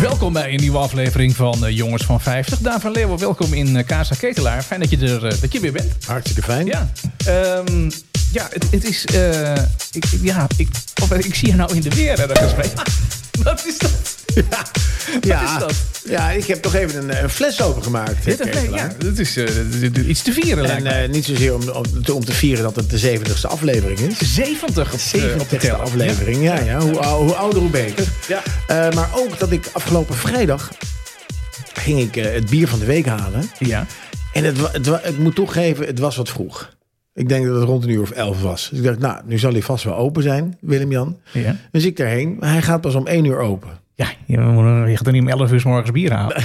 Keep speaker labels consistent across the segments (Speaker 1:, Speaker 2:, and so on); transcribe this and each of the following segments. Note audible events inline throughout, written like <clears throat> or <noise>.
Speaker 1: welkom bij een nieuwe aflevering van eh, Jongens van 50. Daan van Leeuwen, welkom in eh, Casa Ketelaar. Fijn dat je er eh, dat je weer bent.
Speaker 2: Hartstikke fijn.
Speaker 1: Ja, Ehm, ja het, het is... eh, ik, ik- ja, ik, of, eh, ik zie je nou in de weer ergens mee. Wat is <laughs> dat?
Speaker 2: ja.
Speaker 1: is dat?
Speaker 2: Ja, ik heb toch even een, eh, een fles opengemaakt.
Speaker 1: Dit
Speaker 2: eh,
Speaker 1: en vlees,
Speaker 2: Ketelaar.
Speaker 1: ja, dat is eh, d- d- d- iets te vieren lijkt
Speaker 2: En
Speaker 1: me.
Speaker 2: eh, niet zozeer om, om, te- om te vieren dat het de 70ste aflevering is. Eh,
Speaker 1: 70 op, de- op de
Speaker 2: 70ste
Speaker 1: teller.
Speaker 2: aflevering, ja. ja, Hoe, ou- hoe ouder, hoe beter.
Speaker 1: Ja.
Speaker 2: Eh, maar ook dat ik afgelopen vrijdag ging ik eh, het bier van de week halen.
Speaker 1: Ja.
Speaker 2: En het, wa- het, wa- ik moet toegeven, het was wat vroeg. Ik denk dat het rond een uur of elf was. Dus ik dacht, nou, nu zal hij vast wel open zijn, Willem-Jan.
Speaker 1: Ja. ja.
Speaker 2: Dus ik daarheen. Maar hij gaat pas om één uur open.
Speaker 1: ja, je moet- je gaat er niet om 11 uur 's morgens bier halen.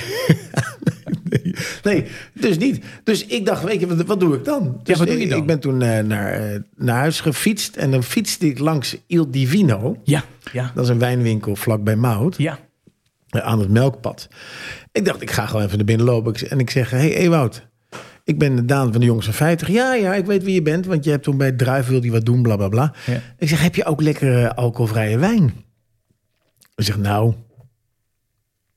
Speaker 2: Nee, nee, dus niet. Dus ik dacht, weet je, wat, wat doe ik dan? Dus
Speaker 1: wat doe je
Speaker 2: ik-
Speaker 1: dan?
Speaker 2: Ik ben toen eh, naar, eh, naar huis gefietst en dan fietste ik langs Il
Speaker 1: <laughs>
Speaker 2: Divino.
Speaker 1: Ja, ja,
Speaker 2: Dat is een wijnwinkel vlakbij Mout,
Speaker 1: ja.
Speaker 2: eh, aan het Melkpad. Ik dacht, ik ga gewoon even naar binnen lopen Ik z- en ik zeg, hé hey, Ewout. Ik ben Daan van de Jongens van 50. Ja, ja, ik weet wie je bent, want je hebt toen bij Druif wil die wat doen, bla bla bla.
Speaker 1: Ja.
Speaker 2: Ik zeg, heb je ook lekkere alcoholvrije wijn? Hij zegt, nou,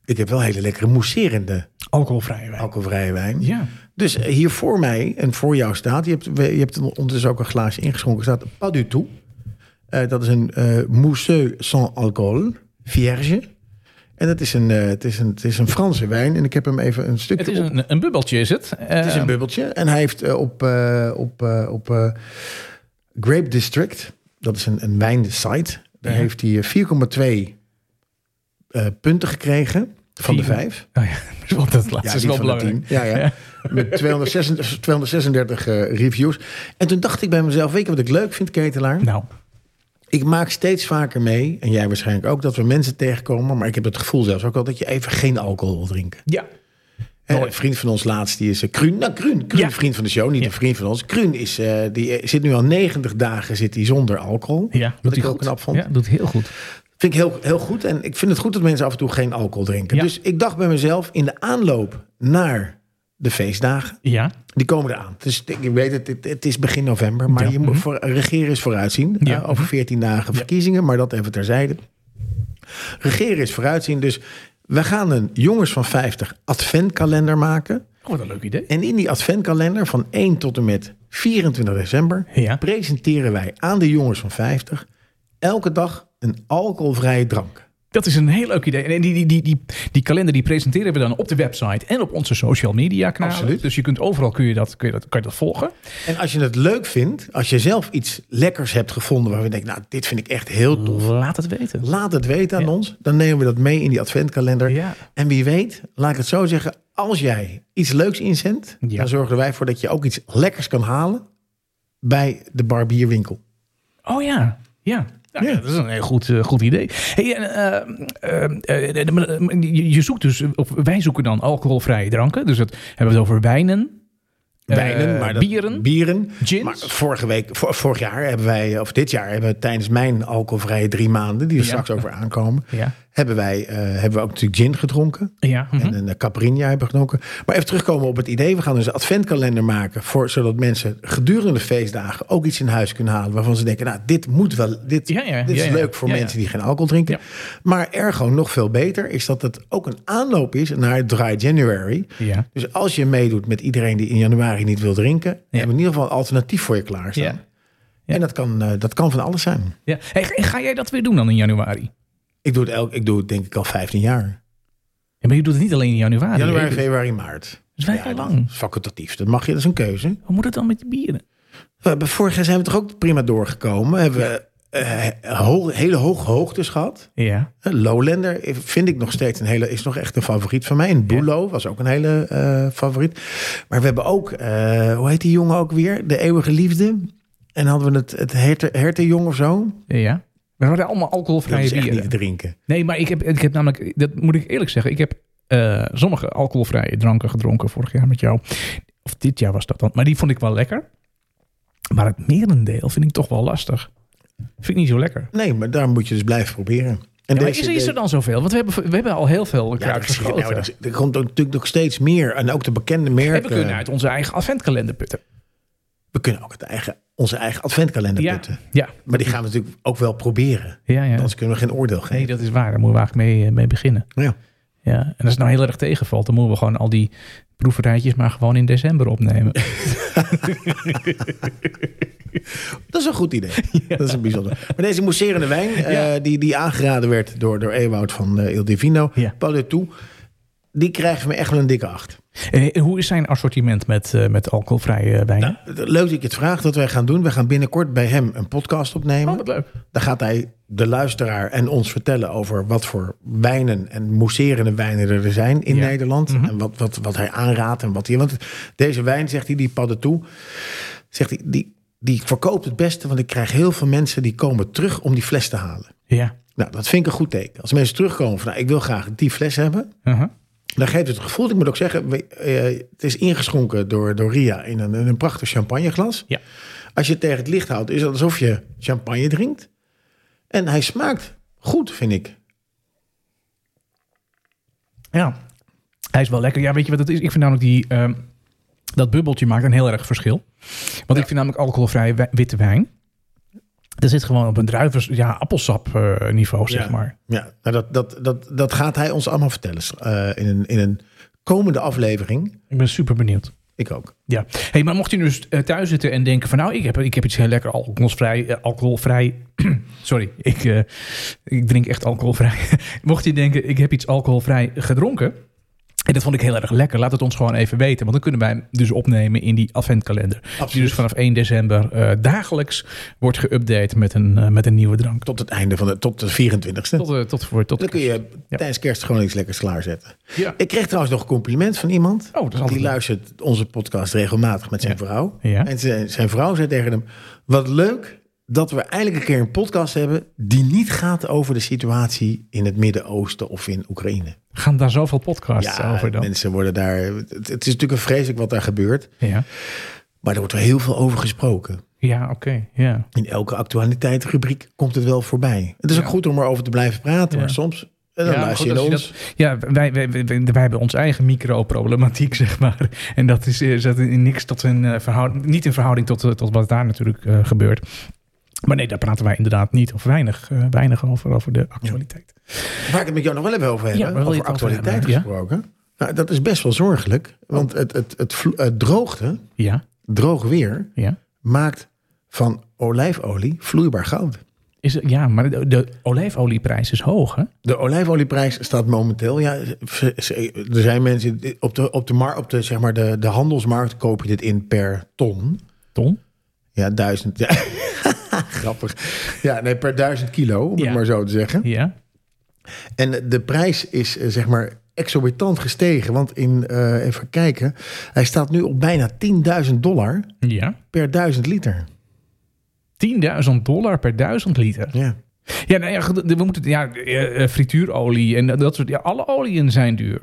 Speaker 2: ik heb wel hele lekkere mousserende
Speaker 1: Alcoholvrije wijn.
Speaker 2: alcoholvrije wijn.
Speaker 1: Ja.
Speaker 2: Dus eh, hier voor mij en voor jou staat, je hebt, we- je hebt ondertussen ook een glaasje ingeschonken, staat pas du tout. Eh, dat is een eh mousseux sans alcool, vierge. En dat is een, eh, het is, een, het is een Franse wijn. En ik heb hem even een stukje
Speaker 1: Het is een, een bubbeltje, is het? Ehm,
Speaker 2: het is een bubbeltje. En hij heeft eh, op, eh, op, eh, op eh, Grape District, dat is een, een wijnsite, daar
Speaker 1: Ja.
Speaker 2: heeft hij eh, 4,2 eh, punten gekregen van de
Speaker 1: Vier-
Speaker 2: vijf.
Speaker 1: Oh ja, <laughs> dat is wel- dat laatste is
Speaker 2: niet
Speaker 1: wel
Speaker 2: van de
Speaker 1: belangrijk.
Speaker 2: tien. Ja, ja. Met 236, 236 eh, reviews. En toen dacht ik bij mezelf, weet je wat ik leuk vind, Ketelaar?
Speaker 1: Nou,
Speaker 2: Ik maak steeds vaker mee, en jij waarschijnlijk ook, dat we mensen tegenkomen. Maar ik heb het gevoel zelfs ook al dat je even geen alcohol wil drinken.
Speaker 1: ja.
Speaker 2: Hè,
Speaker 1: Mooi.
Speaker 2: een vriend van ons laatst, die is eh, Kruun. Nou, Kruun, Kruun
Speaker 1: Ja.
Speaker 2: vriend van de show, niet
Speaker 1: Ja.
Speaker 2: een vriend van ons. Kruun is, eh, die eh, zit nu al 90 dagen zit hij zonder alcohol.
Speaker 1: ja.
Speaker 2: wat
Speaker 1: hij
Speaker 2: ik ook
Speaker 1: goed.
Speaker 2: knap vond.
Speaker 1: Ja, doet heel goed.
Speaker 2: Vind ik heel, heel goed. En ik vind het goed dat mensen af en toe geen alcohol drinken.
Speaker 1: Ja.
Speaker 2: Dus ik dacht bij mezelf, in de aanloop naar de feestdagen...
Speaker 1: Ja,
Speaker 2: Die komen eraan. Dus ik weet het, het, het is begin november. Maar
Speaker 1: Ja. Mhm.
Speaker 2: je moet voor, regeren is vooruitzien.
Speaker 1: Ja.
Speaker 2: Eh, over 14 dagen verkiezingen, maar dat even terzijde. Regeren is vooruitzien. Dus we gaan een jongens van 50 adventkalender maken.
Speaker 1: oh, wat een leuk idee.
Speaker 2: En in die adventkalender van 1 tot en met 24 december...
Speaker 1: Ja.
Speaker 2: presenteren wij aan de jongens van 50 elke dag een alcoholvrije drank.
Speaker 1: Dat is een heel leuk idee. En die, die, die, die, die kalender die presenteren we dan op de website en op onze social media kanalen.
Speaker 2: Absoluut.
Speaker 1: Dus je kunt overal kun je dat, kun je dat, kan je dat volgen.
Speaker 2: En als je het leuk vindt, als je zelf iets lekkers hebt gevonden... waarvan je denkt, nou, dit vind ik echt
Speaker 1: Mhm.
Speaker 2: heel tof...
Speaker 1: Laat het weten.
Speaker 2: Laat het weten aan
Speaker 1: Ja.
Speaker 2: ons. Dan nemen we dat mee in die adventkalender.
Speaker 1: Ja.
Speaker 2: En wie weet, laat ik het zo zeggen. Als jij iets leuks inzendt,
Speaker 1: Ja.
Speaker 2: dan zorgen wij ervoor dat je ook iets lekkers kan halen bij de barbierwinkel.
Speaker 1: Oh ja, ja. Ja, ja, dat is een heel goed, eh, goed idee. Hey, en, eh, eh, eh, maar, eh, maar je je zoekt dus, of wij zoeken dan alcoholvrije dranken. Dus dat hebben we het over wijnen, eh,
Speaker 2: Wijnen, maar dat-
Speaker 1: bieren,
Speaker 2: bieren.
Speaker 1: gins.
Speaker 2: Maar vorige week, vor- vorig jaar hebben wij, of dit jaar hebben we tijdens mijn alcoholvrije drie maanden, die er
Speaker 1: Ja.
Speaker 2: straks over aankomen,
Speaker 1: Ja.
Speaker 2: hebben wij, eh, hebben we ook natuurlijk gin gedronken.
Speaker 1: Ja, mhm.
Speaker 2: En eh, een Caprinja hebben genomen. Maar even terugkomen op het idee. We gaan dus een adventkalender maken. Voor, zodat mensen gedurende de feestdagen ook iets in huis kunnen halen. Waarvan ze denken, nou, dit moet wel. Dit,
Speaker 1: Ja, ja,
Speaker 2: dit is
Speaker 1: ja, ja.
Speaker 2: leuk voor
Speaker 1: Ja, ja.
Speaker 2: mensen die geen alcohol drinken.
Speaker 1: Ja.
Speaker 2: Maar ergo nog veel beter is dat het ook een aanloop is naar Dry January.
Speaker 1: ja.
Speaker 2: Dus als je meedoet met iedereen die in januari niet wil drinken. hebben we in ieder geval een alternatief voor je klaarstaan.
Speaker 1: Ja. Ja.
Speaker 2: En dat kan, eh, dat kan van alles zijn.
Speaker 1: ja. Hey, ga- ga jij dat weer doen dan in januari?
Speaker 2: Ik doe het, elk, ik doe het denk ik al 15 jaar.
Speaker 1: Ja, maar je doet het niet alleen in januari.
Speaker 2: Januari,
Speaker 1: hè? Ah, Dat
Speaker 2: februari, maart.
Speaker 1: is vrij
Speaker 2: Dat
Speaker 1: lang.
Speaker 2: is Facultatief, dat mag je, dat is een keuze.
Speaker 1: Hoe moet het dan met die bieren?
Speaker 2: We hebben vorig jaar zijn we toch ook prima doorgekomen. Hebben we eh, ho- hele hoge hoogtes gehad.
Speaker 1: Ja.
Speaker 2: Eh, Lowlander vind ik nog steeds een hele, is nog echt een favoriet van mij. En Bulo was ook een hele eh, favoriet. Maar we hebben ook, eh, hoe heet die jongen ook weer? De eeuwige liefde. En hadden we het, het herte- hertenjong of zo.
Speaker 1: ja. We waren allemaal
Speaker 2: Dat
Speaker 1: alcoholvrije
Speaker 2: is echt
Speaker 1: bieren.
Speaker 2: niet te drinken.
Speaker 1: Nee, maar ik heb, ik heb namelijk, dat moet ik eerlijk zeggen, ik heb eh, sommige alcoholvrije dranken gedronken vorig jaar met jou. Of dit jaar was dat dan. Maar die vond ik wel lekker. Maar het merendeel vind ik toch wel lastig. Vind ik niet zo lekker.
Speaker 2: Nee, maar daar moet je dus blijven proberen. En
Speaker 1: Ja, maar
Speaker 2: deze-
Speaker 1: is, is er dan zoveel? Want we hebben, we hebben al heel veel
Speaker 2: Ja,
Speaker 1: kruid
Speaker 2: er,
Speaker 1: geschoten.
Speaker 2: nou, er, er komt ook natuurlijk nog steeds meer. En ook de bekende
Speaker 1: en
Speaker 2: merken.
Speaker 1: we kunnen uit onze eigen adventkalender putten.
Speaker 2: we kunnen ook het eigen, onze eigen adventkalender
Speaker 1: Ja,
Speaker 2: putten.
Speaker 1: ja,
Speaker 2: Maar die gaan we natuurlijk ook wel proberen.
Speaker 1: ja. ja.
Speaker 2: Anders kunnen we geen oordeel
Speaker 1: Nee,
Speaker 2: geven.
Speaker 1: dat is waar. Daar moeten we eigenlijk mee, eh, mee beginnen.
Speaker 2: Ja.
Speaker 1: Ja, en als het nou heel erg tegenvalt, dan moeten we gewoon al die proeverijtjes maar gewoon in december <laughs> opnemen.
Speaker 2: Dat is een goed idee. Dat is een bijzonder. Maar deze mousserende wijn, eh, die, die aangeraden werd door, door Ewout van eh Il Divino,
Speaker 1: Ja.
Speaker 2: Paul de Toe, die krijgt van me echt wel een dikke acht.
Speaker 1: En eh, hoe is zijn assortiment met, eh, met alcoholvrije wijnen?
Speaker 2: Leuk dat ik het vraag dat wij gaan doen. We gaan binnenkort bij hem een podcast opnemen.
Speaker 1: Oh, wat leuk.
Speaker 2: Daar gaat hij de luisteraar en ons vertellen over wat voor wijnen en mousserende wijnen er zijn in
Speaker 1: Ja.
Speaker 2: Nederland. En wat, wat, wat hij aanraadt en wat hij. Want deze wijn, zegt hij, die padden toe, zegt hij, die, die verkoopt het beste. Want ik krijg heel veel mensen die komen terug om die fles te halen.
Speaker 1: Ja.
Speaker 2: Nou, dat vind ik een goed teken. Als mensen terugkomen van, nou, ik wil graag die fles hebben.
Speaker 1: Uh-huh.
Speaker 2: Dan geeft het het gevoel, ik moet ook zeggen, we- eh, het is ingeschonken door, door Ria in een, in een prachtig champagneglas.
Speaker 1: Ja.
Speaker 2: Als je het tegen het licht houdt, is het alsof je champagne drinkt. En hij smaakt goed, vind ik.
Speaker 1: Ja, hij is wel lekker. Ja, weet je wat het is? Ik vind namelijk die, ehm, dat bubbeltje maakt een heel erg verschil. Want ik vind namelijk alcoholvrije wi- witte wijn. Dat zit gewoon op een druivens, ja, appelsap eh, niveau, zeg
Speaker 2: Ja.
Speaker 1: maar.
Speaker 2: Ja, nou dat, dat, dat, dat gaat hij ons allemaal vertellen eh, in, een, in een komende aflevering.
Speaker 1: Ik ben super benieuwd.
Speaker 2: Ik ook.
Speaker 1: Ja, hey, maar mocht je nu eh, thuis zitten en denken van nou, ik heb, ik heb iets heel lekker alcoholvrij, eh, alcoholvrij <clears throat> sorry, ik, eh, ik drink echt alcoholvrij. <laughs> mocht je denken, ik heb iets alcoholvrij gedronken en dat vond ik heel erg lekker, laat het ons gewoon even weten. Want dan kunnen wij hem dus opnemen in die adventkalender. Die
Speaker 2: Absoluut.
Speaker 1: dus vanaf 1 december eh, dagelijks wordt geüpdate met een, eh, met een nieuwe drank.
Speaker 2: Tot het einde van de, tot de 24e.
Speaker 1: Tot, eh, tot voor... Tot,
Speaker 2: Dan kun je
Speaker 1: Ja.
Speaker 2: tijdens kerst gewoon iets lekkers klaarzetten.
Speaker 1: Ja.
Speaker 2: Ik kreeg trouwens nog een compliment van iemand.
Speaker 1: Oh, dat is altijd
Speaker 2: die
Speaker 1: leuk.
Speaker 2: luistert onze podcast regelmatig met zijn vrouw.
Speaker 1: Ja.
Speaker 2: En zijn, zijn vrouw zei tegen hem... Wat leuk dat we eindelijk een keer een podcast hebben... die niet gaat over de situatie in het Midden-Oosten of in Oekraïne.
Speaker 1: Gaan daar zoveel podcasts over dan?
Speaker 2: mensen worden daar... Het, het is natuurlijk een vreselijk wat daar gebeurt.
Speaker 1: Ja,
Speaker 2: Maar er wordt wel heel veel over gesproken.
Speaker 1: ja oké. Ja.
Speaker 2: In elke actualiteitsrubriek komt het wel voorbij. Het is ook goed om erover te blijven praten. Maar
Speaker 1: Ja.
Speaker 2: soms... En dan
Speaker 1: Ja, maar
Speaker 2: luister je
Speaker 1: goed,
Speaker 2: naar
Speaker 1: als
Speaker 2: ons.
Speaker 1: je dat- ja, wij, wij, wij, wij hebben onze eigen micro-problematiek, <laughs> zeg maar. En dat is, eh, zet in niks tot een eh, verhouding, niet in verhouding tot, eh, tot wat daar natuurlijk eh, gebeurt. Maar nee, daar praten wij inderdaad niet of weinig, eh, weinig over, over de actualiteit.
Speaker 2: Waar ik het met jou nog wel even over hebben,
Speaker 1: Ja, waar wil
Speaker 2: over
Speaker 1: je het over
Speaker 2: actualiteit
Speaker 1: hebben, ja?
Speaker 2: gesproken. Nou, dat is best wel zorgelijk, want het, het, het, vlo- het droogte,
Speaker 1: Ja,
Speaker 2: droog weer,
Speaker 1: ja.
Speaker 2: maakt van olijfolie vloeibaar goud.
Speaker 1: Is, het- ja maar de, de olijfolieprijs is hoog, hè?
Speaker 2: De olijfolieprijs staat momenteel, ja, ze- ze- er zijn mensen, die- op de, op de, mar, op de, zeg maar de, de handelsmarkt koop je dit in per ton.
Speaker 1: Ton?
Speaker 2: Ja, duizend, ja. <laughs> grappig. Ja, nee, per duizend kilo, om
Speaker 1: Ja.
Speaker 2: het maar zo te zeggen.
Speaker 1: Ja.
Speaker 2: En de prijs is eh, zeg maar exorbitant gestegen. Want in, eh, even kijken, hij staat nu op bijna 10.000 dollar
Speaker 1: Ja.
Speaker 2: per 1000 liter.
Speaker 1: 10.000 dollar per 1000 liter.
Speaker 2: Ja.
Speaker 1: Ja, nou ja, goed, we moeten, ja eh, eh, frituurolie en dat soort. Ja, alle oliën zijn duur.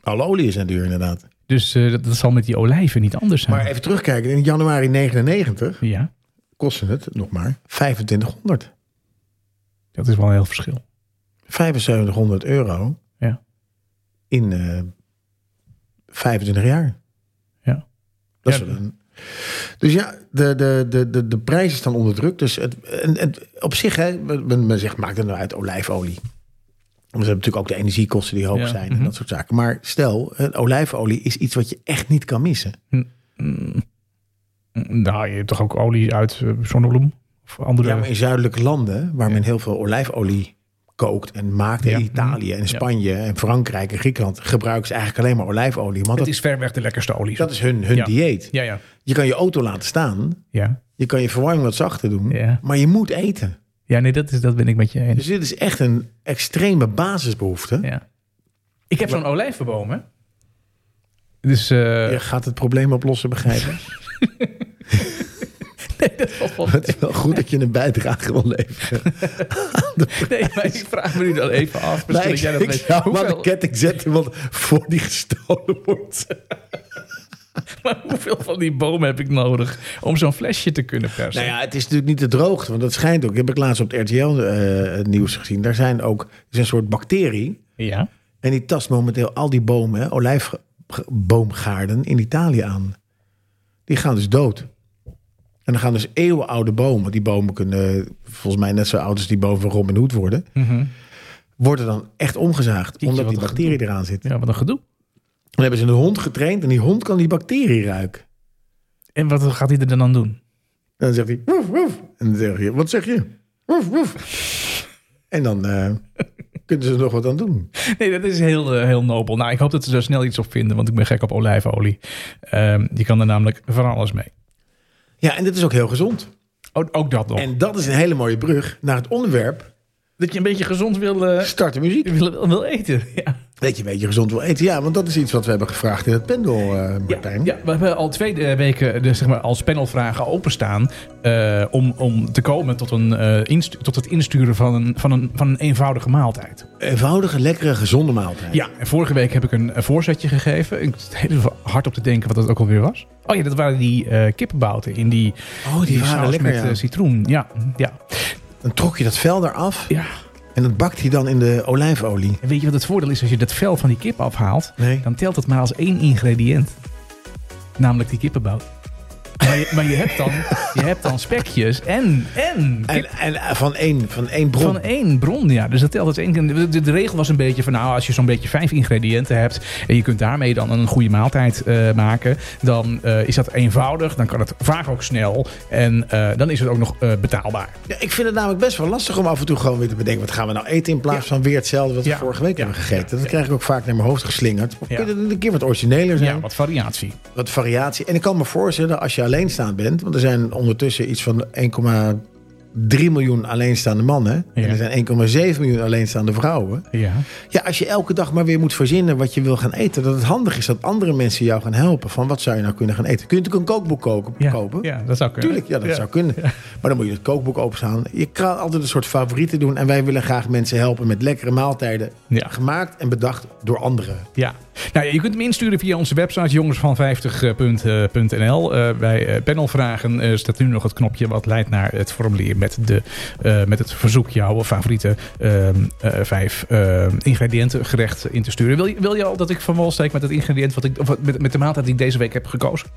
Speaker 2: Alle olie is zijn duur inderdaad.
Speaker 1: Dus eh, dat, dat zal met die olijven niet anders zijn.
Speaker 2: Maar even terugkijken, in januari 99
Speaker 1: ja,
Speaker 2: kostte het nog maar 2500.
Speaker 1: dat is wel een heel verschil.
Speaker 2: 7500 euro
Speaker 1: Ja.
Speaker 2: in eh 25 jaar.
Speaker 1: Ja.
Speaker 2: Dat
Speaker 1: Ja,
Speaker 2: is wel een- dus ja, de, de, de, de, de prijs is dan onder druk. Dus het, en, het, op zich, hè, men, men- men zegt, maakt het nou uit olijfolie. Want we hebben natuurlijk ook de energiekosten die hoog
Speaker 1: Ja,
Speaker 2: zijn en
Speaker 1: mhm.
Speaker 2: dat soort zaken. Maar stel, eh, olijfolie is iets wat je echt niet kan missen.
Speaker 1: Nou, je hebt toch ook olie uit eh, zonnebloem? Of andere...
Speaker 2: Ja, maar in zuidelijke landen, waar men heel veel olijfolie kookt en maakt in
Speaker 1: Ja.
Speaker 2: Italië en Spanje en Frankrijk en Griekenland, gebruiken ze eigenlijk alleen maar olijfolie. Want
Speaker 1: het
Speaker 2: dat
Speaker 1: is ver weg de lekkerste olie.
Speaker 2: Dat is hun, hun
Speaker 1: Ja.
Speaker 2: dieet.
Speaker 1: Ja, ja.
Speaker 2: Je kan je auto laten staan.
Speaker 1: Ja,
Speaker 2: Je kan je verwarming wat zachter doen.
Speaker 1: Ja.
Speaker 2: Maar je moet eten.
Speaker 1: ja nee, dat, is, dat ben ik met je eens.
Speaker 2: Dus dit is echt een extreme basisbehoefte.
Speaker 1: Ja. Ik heb zo'n olijvenboom, hè? Dus eh,
Speaker 2: Je gaat het probleem oplossen, begrijpen. <laughs> Het is wel goed dat je een bijdrage wil leveren.
Speaker 1: <laughs> nee, maar ik vraag me nu dan even af.
Speaker 2: Nee,
Speaker 1: Misschien
Speaker 2: ik
Speaker 1: dat jij dat
Speaker 2: ik
Speaker 1: weet.
Speaker 2: zou hem aan de
Speaker 1: Hoeveel-
Speaker 2: ketting zetten, want voor die gestolen wordt.
Speaker 1: <laughs> Maar hoeveel van die bomen heb ik nodig om zo'n flesje te kunnen persen?
Speaker 2: Nou ja, het is natuurlijk niet de droogte, want dat schijnt ook. Heb ik laatst op eh, het RTL-nieuws gezien. Daar zijn ook, er is een soort bacterie.
Speaker 1: ja.
Speaker 2: En die tast momenteel al die bomen, hè, olijfboomgaarden in Italië aan. Die gaan dus dood. En dan gaan dus
Speaker 1: Mhm.
Speaker 2: eeuwenoude bomen. Die bomen kunnen eh, volgens mij net zo oud als die boven Robin Hood worden. worden dan echt omgezaagd.
Speaker 1: je
Speaker 2: Omdat
Speaker 1: wat
Speaker 2: die
Speaker 1: een
Speaker 2: bacterie eraan zit.
Speaker 1: Ja, wat een gedoe.
Speaker 2: Dan hebben ze een hond getraind en die hond kan die bacterie ruiken.
Speaker 1: En wat gaat hij er dan aan doen?
Speaker 2: En dan zegt hij, woef, woef. En dan zeg je, wat zeg je? Woef, woef. En dan eh, kunnen ze er nog wat aan doen.
Speaker 1: Nee, dat is heel, eh, heel nobel. Nou, ik hoop dat ze daar snel iets op vinden, want ik ben gek op olijfolie. Ehm, je kan er namelijk van alles mee.
Speaker 2: Ja, en dat is ook heel gezond.
Speaker 1: Ook, ook dat nog.
Speaker 2: En dat is een hele mooie brug naar het onderwerp
Speaker 1: dat je een beetje gezond wil, eh,
Speaker 2: starten muziek.
Speaker 1: wil, wil eten. <laughs> Ja.
Speaker 2: Dat je een beetje gezond wil eten. Ja, want dat is iets wat we hebben gevraagd in het pendel, eh,
Speaker 1: Ja,
Speaker 2: Martijn.
Speaker 1: ja, we hebben al twee eh, weken de, zeg maar, als panelvragen openstaan eh, om, om te komen tot, een, eh, instu- tot het insturen van een, van, een, van een eenvoudige maaltijd.
Speaker 2: Eenvoudige, lekkere, gezonde maaltijd.
Speaker 1: Ja, en vorige week heb ik een eh, voorzetje gegeven. Ik zit heel even hard op te denken wat dat ook alweer was. Oh ja, dat waren die eh kippenbouten in die,
Speaker 2: Oh, die,
Speaker 1: saus
Speaker 2: waren lekker,
Speaker 1: met
Speaker 2: ja.
Speaker 1: eh, citroen. Ja, ja,
Speaker 2: Dan trok je dat vel eraf
Speaker 1: ja.
Speaker 2: en dat bakt hij dan in de olijfolie.
Speaker 1: En weet je wat het voordeel is als je dat vel van die kip afhaalt?
Speaker 2: Nee.
Speaker 1: Dan telt het maar als één ingrediënt. Namelijk die kippenbout. Maar je, maar je, hebt,
Speaker 2: <laughs>
Speaker 1: dan, je hebt dan spekjes en, en
Speaker 2: En, en eh, van één, van één bron.
Speaker 1: Van één bron, ja. Dus dat telt als één. De, de- de regel was een beetje van, nou, als je zo'n beetje vijf ingrediënten hebt en je kunt daarmee dan een goede maaltijd eh, maken, dan eh, is dat eenvoudig, dan kan het vaak ook snel en eh, dan is het ook nog eh, betaalbaar.
Speaker 2: Ja, ik vind het namelijk best wel lastig om af en toe gewoon weer te bedenken... wat gaan we nou eten in plaats van weer hetzelfde wat we
Speaker 1: Ja.
Speaker 2: vorige week
Speaker 1: Ja.
Speaker 2: hebben gegeten. Dat
Speaker 1: Ja.
Speaker 2: krijg ik ook vaak naar mijn hoofd geslingerd. Of
Speaker 1: Ja.
Speaker 2: Kun je dat een keer wat origineler zijn?
Speaker 1: Ja, wat variatie.
Speaker 2: Wat variatie. En ik kan me voorstellen, als je alleenstaand bent... want er zijn ondertussen iets van 1,3 miljoen alleenstaande mannen...
Speaker 1: Ja.
Speaker 2: en er zijn 1,7 miljoen alleenstaande vrouwen.
Speaker 1: Ja.
Speaker 2: Ja, als je elke dag maar weer moet verzinnen wat je wil gaan eten... dat het handig is dat andere mensen jou gaan helpen... van wat zou je nou kunnen gaan eten. Kun je natuurlijk een kookboek koken,
Speaker 1: Ja.
Speaker 2: kopen...
Speaker 1: Ja, dat zou kunnen.
Speaker 2: Tuurlijk, ja, dat zou kunnen. Maar dan moet je het kookboek openstaan. Je kan altijd een soort favorieten doen. En wij willen graag mensen helpen met lekkere maaltijden.
Speaker 1: Ja.
Speaker 2: Gemaakt en bedacht door anderen.
Speaker 1: Ja. Nou, ja, je kunt hem insturen via onze website jongensvan50.nl. Eh bij eh, panelvragen eh, staat nu nog het knopje wat leidt naar het formulier met, de, eh, met het verzoek jouw favoriete ehm, eh, vijf eh, ingrediënten gerecht in te sturen. Wil je, wil je al dat ik van wal steek met het ingrediënt wat ik, of met, met de maaltijd die ik deze week heb gekozen?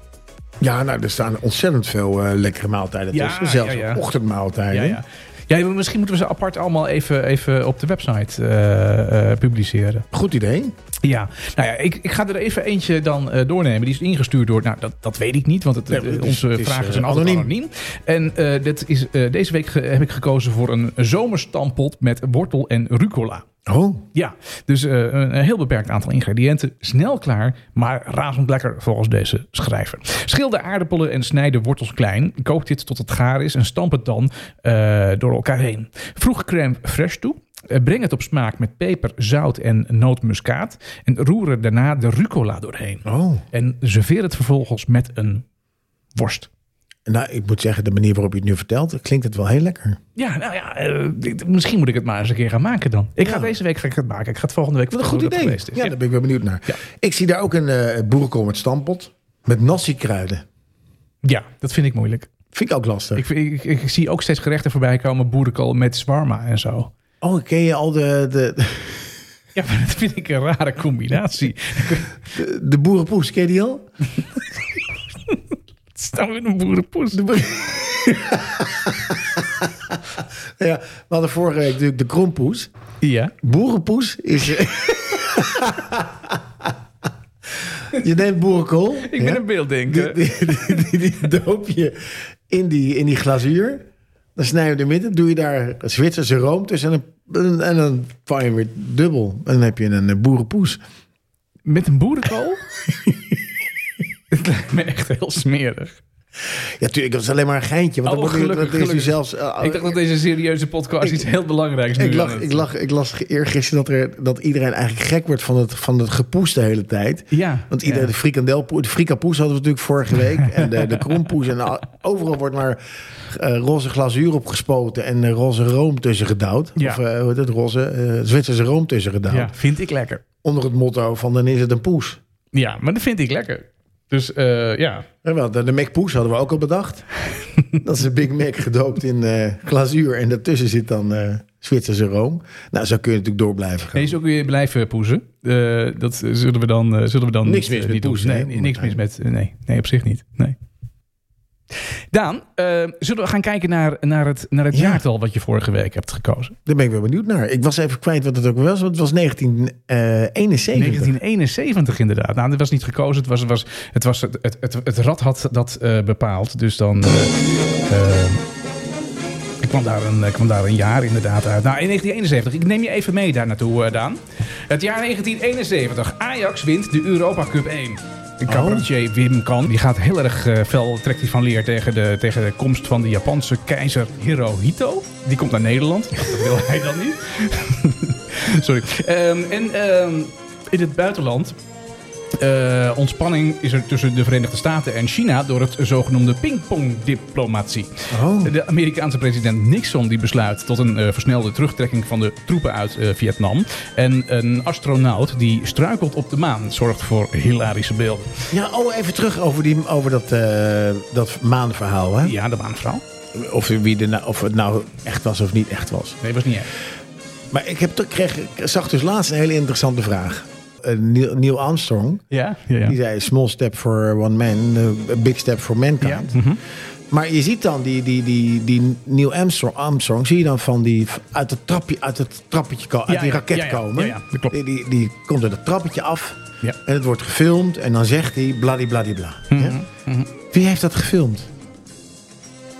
Speaker 2: Ja, nou, er staan ontzettend veel eh, lekkere maaltijden
Speaker 1: Ja,
Speaker 2: tussen. Zelfs
Speaker 1: ja, ja.
Speaker 2: ochtendmaaltijden.
Speaker 1: ja. Ja, maar misschien moeten we ze apart allemaal even, even op de website eh, eh, publiceren.
Speaker 2: Goed idee.
Speaker 1: Ja, nou ja, ik, ik ga er even eentje dan eh, doornemen. Die is ingestuurd door, nou dat, dat weet ik niet, want het,
Speaker 2: Nee, maar het is-
Speaker 1: onze
Speaker 2: het is,
Speaker 1: vragen
Speaker 2: eh,
Speaker 1: zijn altijd anoniem.
Speaker 2: anoniem.
Speaker 1: En eh, dit is, eh, deze week ge- heb ik gekozen voor een zomerstampot met wortel en rucola.
Speaker 2: Oh,
Speaker 1: Ja, dus eh, een, een heel beperkt aantal ingrediënten. Snel klaar, maar razend lekker volgens deze schrijver. Schil de aardappelen en snijd de wortels klein. Kook dit tot het gaar is en stamp het dan eh, door elkaar heen. Voeg crème fraîche toe. Eh, Breng het op smaak met peper, zout en nootmuskaat. En roer er daarna de rucola doorheen.
Speaker 2: oh.
Speaker 1: En serveer het vervolgens met een worst.
Speaker 2: Nou, ik moet zeggen, de manier waarop je het nu vertelt... klinkt het wel heel lekker.
Speaker 1: Ja, nou ja, eh, dit- misschien moet ik het maar eens een keer gaan maken dan. Ik ga
Speaker 2: Ja.
Speaker 1: deze week ga ik het maken. Ik ga het volgende week
Speaker 2: Wat een
Speaker 1: vertellen
Speaker 2: goed
Speaker 1: hoe dat geweest
Speaker 2: idee.
Speaker 1: is.
Speaker 2: Ja, daar ben ik wel benieuwd naar.
Speaker 1: Ja.
Speaker 2: Ik zie daar ook een eh boerenkool met stampot. Met nasi-kruiden.
Speaker 1: ja, dat vind ik moeilijk.
Speaker 2: Vind ik ook lastig.
Speaker 1: Ik, ik, ik, ik zie ook steeds gerechten voorbij komen, boerenkool met zwarma en zo.
Speaker 2: Oh, ken je al de, de,
Speaker 1: Ja, maar dat vind ik een rare combinatie.
Speaker 2: de, de boerenpoes? Ken je die al?
Speaker 1: Het is nou weer een boerenpoes.
Speaker 2: Ja, we hadden vorige week natuurlijk de krompoes.
Speaker 1: Ja.
Speaker 2: Boerenpoes
Speaker 1: <laughs>
Speaker 2: is... eh, je neemt boerenkool.
Speaker 1: Ik ben een beelddenker.
Speaker 2: Die, die, die- die doop je in die, in die glazuur. Dan snij je de midden. Doe je daar Zwitserse room tussen. En, een- en dan vang je weer dubbel. En dan heb je een eh, boerenpoes.
Speaker 1: Met een boerenkool? Het lijkt me echt heel smerig.
Speaker 2: Ja, tuurlijk, dat is alleen maar een geintje. Want
Speaker 1: Oh,
Speaker 2: dan wordt nu-
Speaker 1: gelukkig,
Speaker 2: dat is nu
Speaker 1: gelukkig.
Speaker 2: zelfs... eh,
Speaker 1: ik dacht dat deze serieuze podcast iets heel belangrijks nu
Speaker 2: Ik,
Speaker 1: aan
Speaker 2: lag,
Speaker 1: het-
Speaker 2: ik, lag, ik las ge- eergisteren dat, er, dat iedereen eigenlijk gek wordt van het, van het gepoes de hele tijd.
Speaker 1: Ja.
Speaker 2: Want iedereen, de frikandelpoes, de frikapoes hadden we natuurlijk vorige week.
Speaker 1: <laughs>
Speaker 2: En de, de krompoes. En al- overal wordt maar eh, roze glazuur opgespoten en eh, roze room tussen gedouwd.
Speaker 1: Ja.
Speaker 2: Of eh, hoe heet het, roze eh, Zwitserse room tussen gedouwd.
Speaker 1: Ja. ja, vind ik lekker.
Speaker 2: Onder het motto van dan is het een poes.
Speaker 1: Ja, maar dat vind ik lekker. Dus eh, ja.
Speaker 2: Ja, wel, de, de McPoes hadden we ook al
Speaker 1: <laughs>
Speaker 2: bedacht. dat is een Big Mac gedoopt in eh, glazuur. En daartussen zit dan eh, Zwitserse room. Nou, zo kun je natuurlijk door blijven gaan.
Speaker 1: Deze ook weer blijven poezen. Eh, dat eh, zullen we dan, eh, zullen we dan
Speaker 2: Niks
Speaker 1: niet,
Speaker 2: mis
Speaker 1: eh,
Speaker 2: met
Speaker 1: niet doen.
Speaker 2: poezen,
Speaker 1: Nee,
Speaker 2: hè?
Speaker 1: nee, niks mis met... Nee, nee, op zich niet. Nee. Daan, eh, zullen we gaan kijken naar, naar het, naar het
Speaker 2: Ja.
Speaker 1: jaartal wat je vorige week hebt gekozen?
Speaker 2: Daar ben ik weer benieuwd naar. Ik was even kwijt wat het ook was, want het was eh, 1971.
Speaker 1: 1971 inderdaad. Nou, dat was niet gekozen. Het, was, het, was, het, was, het, het, het, het rad had dat eh, bepaald. Dus dan... eh, eh, ik kwam, daar een, ik kwam daar een jaar inderdaad uit. Nou, in 1971. Ik neem je even mee daar naartoe, eh, Daan. Het jaar 1971. Ajax wint de Europa Cup 1. De cabaretier Wim Kan die gaat heel erg eh, fel, trekt hij van leer tegen de, tegen de komst van de Japanse keizer Hirohito. Die komt naar Nederland. Dat wil hij dan niet. <laughs> Sorry. Ehm, en ehm, in het buitenland. eh, ontspanning is er tussen de Verenigde Staten en China door het zogenoemde pingpongdiplomatie.
Speaker 2: Oh.
Speaker 1: De Amerikaanse president Nixon die besluit tot een eh, versnelde terugtrekking van de troepen uit eh, Vietnam. En een astronaut die struikelt op de maan zorgt voor hilarische beelden.
Speaker 2: Ja, oh, even terug over, die, over dat, eh, dat maanverhaal. Hè?
Speaker 1: Ja, de maanvrouw.
Speaker 2: Of, wie de, nou- of het nou echt was of niet echt was.
Speaker 1: Nee, was niet echt.
Speaker 2: Maar ik, heb, toch- kreeg, ik zag dus laatst een hele interessante vraag. Eh, Neil, Neil Armstrong,
Speaker 1: Ja? Ja.
Speaker 2: die zei... small step for one man, eh, a big step for mankind.
Speaker 1: Ja. Mhm.
Speaker 2: Maar je ziet dan die, die, die, die Neil Armstrong, Armstrong, zie je dan van die uit het trapje, uit het trappetje, ko- uit
Speaker 1: Ja,
Speaker 2: die
Speaker 1: ja,
Speaker 2: raket
Speaker 1: ja, ja,
Speaker 2: komen.
Speaker 1: ja, ja, dat klopt.
Speaker 2: Die, die, die komt uit het trappetje af
Speaker 1: Ja. Mhm.
Speaker 2: en het wordt gefilmd en dan zegt hij bladibladibla. Ja? Wie heeft dat gefilmd?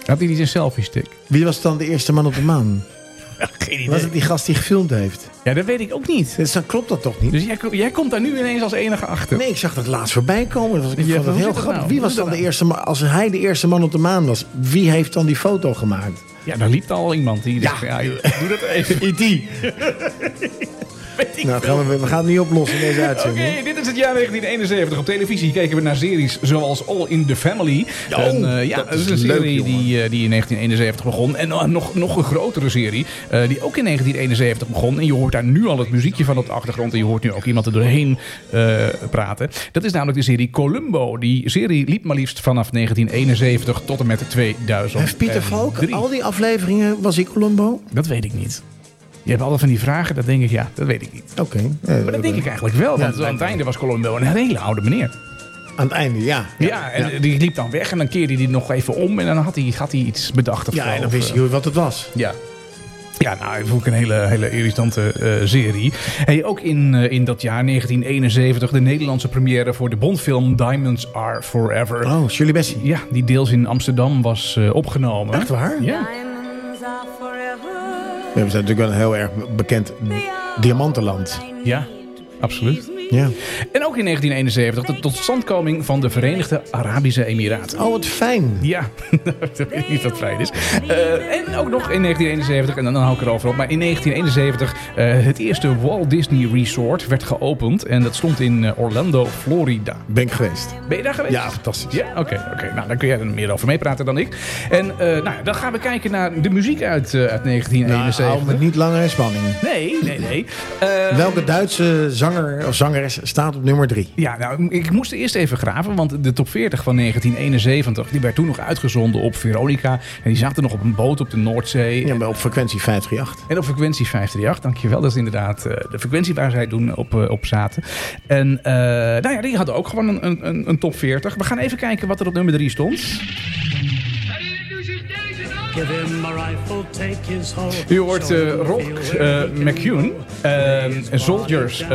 Speaker 1: Had hij niet een selfie stick?
Speaker 2: Wie was dan de eerste man op de maan?
Speaker 1: <laughs> geen
Speaker 2: Was het die gast die gefilmd heeft?
Speaker 1: Ja, dat weet ik ook niet.
Speaker 2: Dus dan klopt dat toch niet?
Speaker 1: Dus jij, ko- jij komt daar nu ineens als enige achter.
Speaker 2: Nee, ik zag dat laatst voorbij komen. Dat was,
Speaker 1: Ja,
Speaker 2: ik vond dat
Speaker 1: hoe
Speaker 2: heel
Speaker 1: zit dat
Speaker 2: grappig.
Speaker 1: nou?
Speaker 2: Wie
Speaker 1: Hoe
Speaker 2: was
Speaker 1: zit
Speaker 2: dan de
Speaker 1: dat
Speaker 2: eerste man? Als hij de eerste man op de maan was, wie heeft dan die foto gemaakt?
Speaker 1: Ja, daar liep al iemand die.
Speaker 2: Ja.
Speaker 1: dacht, Ja, E joh, doe dat even.
Speaker 2: IT.
Speaker 1: Weet ik
Speaker 2: Nou, gaan we, we gaan het niet oplossen in deze
Speaker 1: <laughs> Oké,
Speaker 2: uitzending.
Speaker 1: dit is het jaar 1971. Op televisie keken we naar series zoals All in the Family.
Speaker 2: Oh,
Speaker 1: En, eh, ja,
Speaker 2: dat
Speaker 1: dat is
Speaker 2: is
Speaker 1: een
Speaker 2: leuk,
Speaker 1: serie
Speaker 2: jongen.
Speaker 1: die, eh, die in 1971 begon. En eh, nog, nog een grotere serie eh, die ook in 1971 begon. En je hoort daar nu al het muziekje van op de achtergrond. En je hoort nu ook iemand er doorheen eh, praten. Dat is namelijk de serie Columbo. Die serie liep maar liefst vanaf 1971 tot en met 2000.
Speaker 2: Heeft Pieter Valk al die afleveringen, was ik Columbo?
Speaker 1: Dat weet ik niet. Je hebt altijd van die vragen, dat denk ik ja, dat weet ik niet.
Speaker 2: Oké. Eh,
Speaker 1: Maar dat denk ik eigenlijk wel,
Speaker 2: Ja,
Speaker 1: want
Speaker 2: dat
Speaker 1: aan
Speaker 2: lijkt
Speaker 1: het
Speaker 2: me.
Speaker 1: einde was Columbo een hele oude meneer.
Speaker 2: Aan het einde, ja.
Speaker 1: Ja, en die liep dan weg en dan keerde hij nog even om en dan had hij, had hij iets bedacht of zo,
Speaker 2: Ja, en dan
Speaker 1: of,
Speaker 2: wist
Speaker 1: eh,
Speaker 2: je wat het was.
Speaker 1: Ja. Ja, nou, dat vond ik een hele, hele irritante eh, serie. Hey, ook in, eh, in dat jaar 1971 de Nederlandse première voor de Bondfilm Diamonds Are Forever.
Speaker 2: Oh, Shirley Bessie.
Speaker 1: Ja, die deels in Amsterdam was eh, opgenomen.
Speaker 2: Echt waar?
Speaker 1: Ja.
Speaker 3: Diamonds are forever.
Speaker 2: Ja, we zijn natuurlijk wel een heel erg bekend diamantenland.
Speaker 1: Ja, absoluut.
Speaker 2: Ja.
Speaker 1: En ook in 1971 de totstandkoming van de Verenigde Arabische Emiraten.
Speaker 2: Oh, wat fijn.
Speaker 1: Ja, <laughs> dat weet ik niet wat fijn is. Eh, en ook nog in 1971, en dan hou ik erover op, maar in 1971 eh, het eerste Walt Disney Resort werd geopend. En dat stond in eh, Orlando, Florida.
Speaker 2: Ben ik geweest.
Speaker 1: Ben je daar geweest?
Speaker 2: Ja, fantastisch.
Speaker 1: Ja, oké. oké. Nou, dan kun jij er meer over meepraten dan ik. En eh, nou, dan gaan we kijken naar de muziek uit, eh, uit
Speaker 2: Nou, hou
Speaker 1: 1971.
Speaker 2: me niet langer in spanning.
Speaker 1: nee, nee, nee. Eh,
Speaker 2: Welke Duitse zanger of zangeres staat op nummer drie?
Speaker 1: Ja, nou, ik moest eerst even graven, want de top 40 van 1971, die werd toen nog uitgezonden op Veronica. En die zaten nog op een boot op de Noordzee.
Speaker 2: Ja, maar op frequentie 538.
Speaker 1: En op frequentie 538, dankjewel. Dat is inderdaad eh, de frequentie waar zij doen op, eh, op zaten. En eh, nou ja, die hadden ook gewoon een- een, een, een top 40. We gaan even kijken wat er op nummer 3 stond.
Speaker 4: Give him a rifle, take his hoe.
Speaker 1: U hoort eh, Rock eh, McCune, eh, Soldiers eh,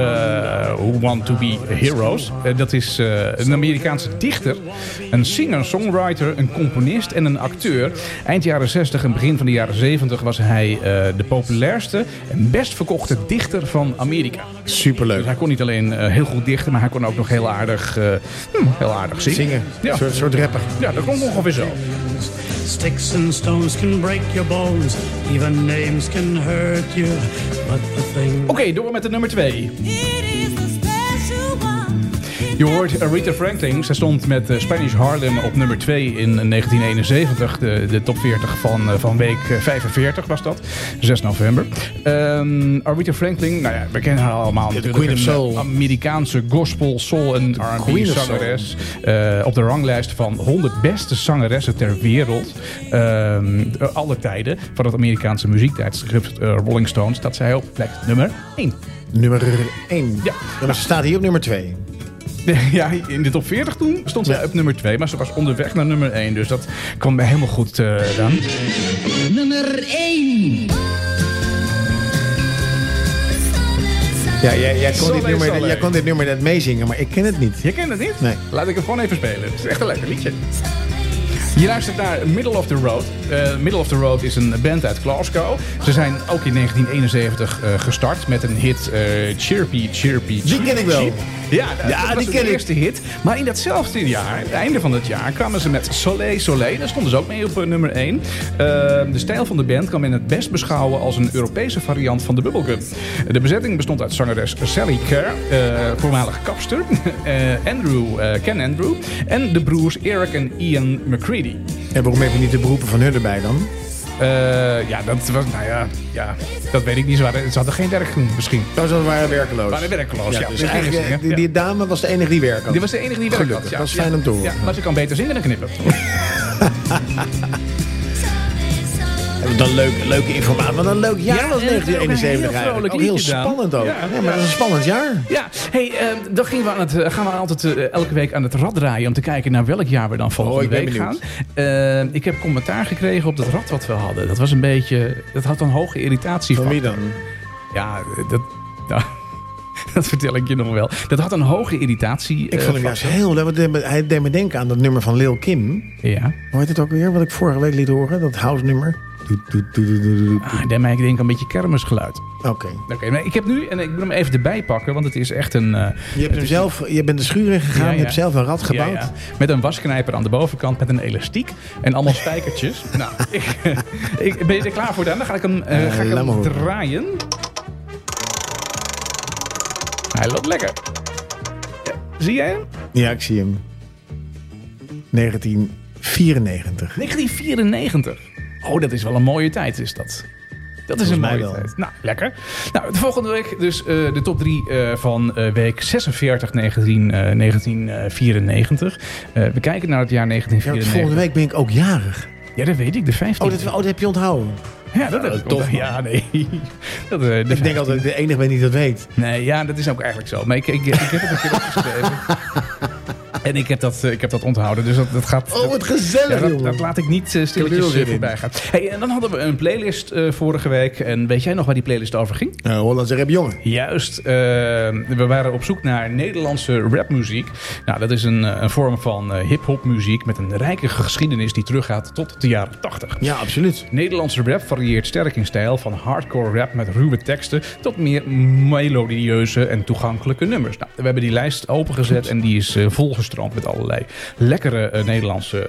Speaker 1: Who Want To Be Heroes. Eh, dat is eh, een Amerikaanse dichter, een singer, songwriter, een componist en een acteur. Eind jaren 60 en begin van de jaren 70 was hij eh, de populairste en best verkochte dichter van Amerika. Dus
Speaker 2: Superleuk.
Speaker 1: hij kon niet alleen eh, heel goed dichten, maar hij kon ook nog heel aardig, eh, hm, heel aardig zingen.
Speaker 2: Zingen.
Speaker 1: Ja.
Speaker 2: Een soort, soort rapper.
Speaker 1: ja, dat klonk ongeveer zo.
Speaker 4: Sticks and stones can break your bones, even names can hurt you. But the thing
Speaker 1: Oké, door met de nummer 2.
Speaker 3: It is a special one.
Speaker 1: Je hoort Rita Franklin. Zij stond met eh, Spanish Harlem op nummer 2 in 1971. De, de top 40 van, eh, van week eh, 45 was dat. 6 november. Ehm Rita Franklin, nou ja, we kennen haar allemaal.
Speaker 2: de
Speaker 1: natuurlijk.
Speaker 2: Queen of
Speaker 1: Een,
Speaker 2: Soul.
Speaker 1: eh, Amerikaanse gospel, soul en R&B
Speaker 2: Queen of
Speaker 1: zangeres. Eh, op de ranglijst van 100 beste zangeressen ter wereld. Ehm alle tijden. Van het Amerikaanse muziektijdschrift eh, Rolling Stone staat zij op plek nummer 1.
Speaker 2: Nummer 1.
Speaker 1: Ja.
Speaker 2: Ja. maar ze staat hier op nummer 2.
Speaker 1: Ja, in de top 40 toen stond zij op nummer 2, maar ze was onderweg naar nummer 1. Dus dat kwam mij helemaal goed eh dan.
Speaker 5: Nummer 1.
Speaker 2: Ja, jij, jij, kon
Speaker 1: Zo
Speaker 2: dit
Speaker 1: leuk,
Speaker 2: nummer,
Speaker 1: zo leuk.
Speaker 2: jij kon dit nummer net meezingen, maar ik ken het niet.
Speaker 1: Je kent het niet?
Speaker 2: Nee.
Speaker 1: Laat ik hem gewoon even spelen. Het is echt een lekker liedje. Je luistert naar Middle of the Road. Eh, Middle of the Road is een band uit Glasgow. Ze zijn ook in 1971 eh, gestart met een hit eh, Chirpy, Chirpy,
Speaker 2: Die ken ik wel.
Speaker 1: Cheep. Ja, dat,
Speaker 2: Ja,
Speaker 1: dat was dus
Speaker 2: die
Speaker 1: de
Speaker 2: ken ik.
Speaker 1: eerste hit. Maar in datzelfde jaar, het einde van dat jaar, kwamen ze met Soleil Soleil. Daar stonden ze ook mee op eh, nummer 1. de stijl van de band kan men het best beschouwen als een Europese variant van de bubblegum. De bezetting bestond uit zangeres Sally Kerr, eh voormalig kapster, <laughs> eh, Andrew, eh, Ken Andrew en de broers Eric en Ian McCready.
Speaker 2: En waarom heb je niet de beroepen van hun erbij dan?
Speaker 1: Eh, ja, dat was, nou ja, ja, dat weet ik niet. Ze, waren, ze hadden geen werk toen, misschien.
Speaker 2: Nou, ze waren werkeloos.
Speaker 1: Waren werkloos, ja.
Speaker 2: dus
Speaker 1: Dus
Speaker 2: eigenlijk,
Speaker 1: gingen
Speaker 2: eh,
Speaker 1: zingen,
Speaker 2: die,
Speaker 1: ja.
Speaker 2: die dame was de enige die werkte.
Speaker 1: Dit was de enige die werk
Speaker 2: Gelukkig,
Speaker 1: had. Ja.
Speaker 2: dat is fijn om te horen.
Speaker 1: Ja, maar ze kan beter zingen dan
Speaker 2: <laughs>
Speaker 1: knippen.
Speaker 2: Wat een leuk, leuke informatie. Wat een leuk jaar
Speaker 1: Ja,
Speaker 2: was
Speaker 1: en het is ook een
Speaker 2: 1971
Speaker 1: heel
Speaker 2: eigenlijk.
Speaker 1: vrolijk
Speaker 2: Ook heel
Speaker 1: liedje dan.
Speaker 2: spannend ook.
Speaker 1: Ja,
Speaker 2: Ja,
Speaker 1: ja.
Speaker 2: maar dat is een spannend jaar.
Speaker 1: Ja, hey, eh, dan gingen we aan het, eh, gaan we altijd eh, elke week aan het rad draaien... om te kijken naar welk jaar we dan volgende
Speaker 2: Oh, ik ben
Speaker 1: week gaan.
Speaker 2: benieuwd.
Speaker 1: Eh, ik heb commentaar gekregen op dat rad wat we hadden. Dat was een beetje... Dat had een hoge irritatie
Speaker 2: Van wie dan?
Speaker 1: Ja, eh, dat... nou, <laughs> dat vertel ik je nog wel. Dat had een hoge irritatie.
Speaker 2: Ik
Speaker 1: eh,
Speaker 2: vond hem juist heel leuk. want het deed me- Hij deed me denken aan dat nummer van Lil Kim.
Speaker 1: Ja.
Speaker 2: Hoe heet het ook weer? Wat ik vorige week liet horen. Dat house nummer. Doet, doet, doet, doet, doet, doet.
Speaker 1: Ah, daarmee ik denk een beetje kermisgeluid.
Speaker 2: Oké.
Speaker 1: Oké, maar ik heb nu... En ik wil hem even erbij pakken, want het is echt een... eh,
Speaker 2: Je, hebt hem zelf, je bent de schuur in gegaan.
Speaker 1: Ja,
Speaker 2: Je
Speaker 1: ja.
Speaker 2: hebt zelf een rad gebouwd.
Speaker 1: Ja, ja. Met een wasknijper aan de bovenkant, met een elastiek en allemaal spijkertjes.
Speaker 2: <laughs>
Speaker 1: nou, ik, <laughs> ik, ben je er klaar voor dan? Dan ga ik hem, eh,
Speaker 2: Eh,
Speaker 1: ga ik
Speaker 2: laat maar
Speaker 1: hem
Speaker 2: horen.
Speaker 1: draaien. Hij loopt lekker. Ja, Zie jij hem?
Speaker 2: Ja, ik zie hem. 1994.
Speaker 1: 1994. Oh, dat is wel een mooie tijd, is dat. Dat is een
Speaker 2: mij
Speaker 1: mooie
Speaker 2: wel.
Speaker 1: tijd. Nou, lekker. Nou, de volgende week dus eh, de top 3 van eh, week 46, 19, eh, 1994. Eh, we kijken naar het jaar
Speaker 2: Ja, want volgende
Speaker 1: 1994.
Speaker 2: week ben ik ook jarig.
Speaker 1: Ja, dat weet ik, de 15.
Speaker 2: Oh, dat, oh, dat heb je onthouden.
Speaker 1: Ja, dat is
Speaker 2: dat is tof, man.
Speaker 1: Ja, nee. <laughs> Dat, eh, de
Speaker 2: Ik denk
Speaker 1: 15.
Speaker 2: altijd dat ik de enige ben die dat weet.
Speaker 1: Nee, ja, dat is ook eigenlijk zo. Maar ik, ik, ik heb het een keer
Speaker 2: <laughs>
Speaker 1: opgeschreven. En ik heb dat, eh, ik heb dat onthouden, dus dat, dat gaat...
Speaker 2: Oh, wat gezellig,
Speaker 1: Ja, dat,
Speaker 2: jongen.
Speaker 1: dat laat ik niet eh,
Speaker 2: Ik heb er wel
Speaker 1: stilletjes
Speaker 2: zin
Speaker 1: eh, voorbij gaan. Hey, en dan hadden we een playlist eh, vorige week. En weet jij nog waar die playlist over ging?
Speaker 2: Eh, Hollandse rap jongen.
Speaker 1: Juist, eh, we waren op zoek naar Nederlandse rapmuziek. Nou, dat is een, eh, een vorm van eh, hip-hop muziek met een rijke geschiedenis die teruggaat tot de jaren 80.
Speaker 2: Ja, absoluut.
Speaker 1: Nederlandse rap varieert sterk in stijl, van hardcore rap met ruwe teksten tot meer melodieuze en toegankelijke nummers. Nou, we hebben die lijst opengezet en die is eh, volgestroomd met allerlei lekkere eh, Nederlandse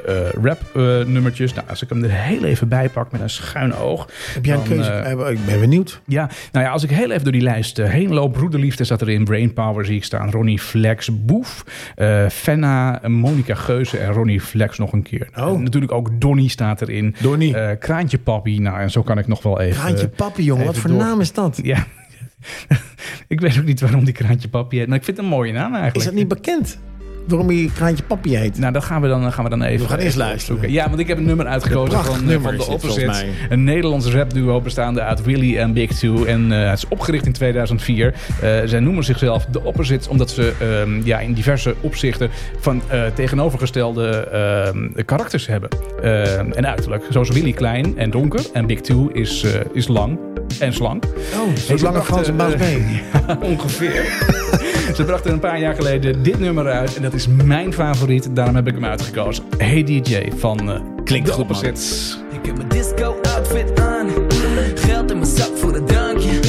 Speaker 1: rap-nummertjes. nou, als ik hem er heel even bij pak met een schuin oog.
Speaker 2: Heb jij een
Speaker 1: dan,
Speaker 2: keuze?
Speaker 1: eh,
Speaker 2: Eh, ik ben benieuwd.
Speaker 1: ja, nou ja, als ik heel even door die lijst eh, heen loop. Broederliefde zat erin. Brainpower zie ik staan. Ronnie Flex, Boef, eh, Fenna, Monica Geuze en Ronnie Flex nog een keer.
Speaker 2: Oh.
Speaker 1: En natuurlijk ook Donnie staat erin.
Speaker 2: Donnie.
Speaker 1: Eh, Kraantje Papi. Nou, en zo kan ik nog wel even...
Speaker 2: Kraantje Papi, jongen. Wat
Speaker 1: even
Speaker 2: voor
Speaker 1: door.
Speaker 2: naam is dat?
Speaker 1: Ja. <laughs> ik weet ook niet waarom die Kraantje Papi heet. Maar ik vind het een mooie naam eigenlijk.
Speaker 2: Is dat niet bekend? Waarom je Kraantje Papi heet?
Speaker 1: Nou, dat gaan we dan, gaan we dan even...
Speaker 2: We gaan eerst
Speaker 1: even
Speaker 2: luisteren.
Speaker 1: opzoeken. Ja, want ik heb een nummer uitgekozen
Speaker 2: prachtig
Speaker 1: van, eh,
Speaker 2: nummer
Speaker 1: van
Speaker 2: is
Speaker 1: de
Speaker 2: dit volgens
Speaker 1: Opposite. Een Nederlands rapduo bestaande uit Willy en Big Two. En eh, het is opgericht in 2004. Eh, zij noemen zichzelf de Opposites omdat ze ehm, ja, in diverse opzichten van eh, tegenovergestelde ehm, karakters hebben. Ehm, en uiterlijk. Zo is Willy klein en donker en Big Two is, eh, is lang en slank.
Speaker 2: Oh, zo lange
Speaker 1: brachten,
Speaker 2: Frans en Baas
Speaker 1: eh,
Speaker 2: mee.
Speaker 1: Ongeveer. Ze brachten een paar jaar geleden dit nummer uit. En dat is mijn favoriet. Daarom heb ik hem uitgekozen. Hey DJ van eh Klinkt
Speaker 6: goed, man.
Speaker 1: Opposites.
Speaker 6: Ik heb mijn disco outfit aan. Geld in mijn zak voor een drankje.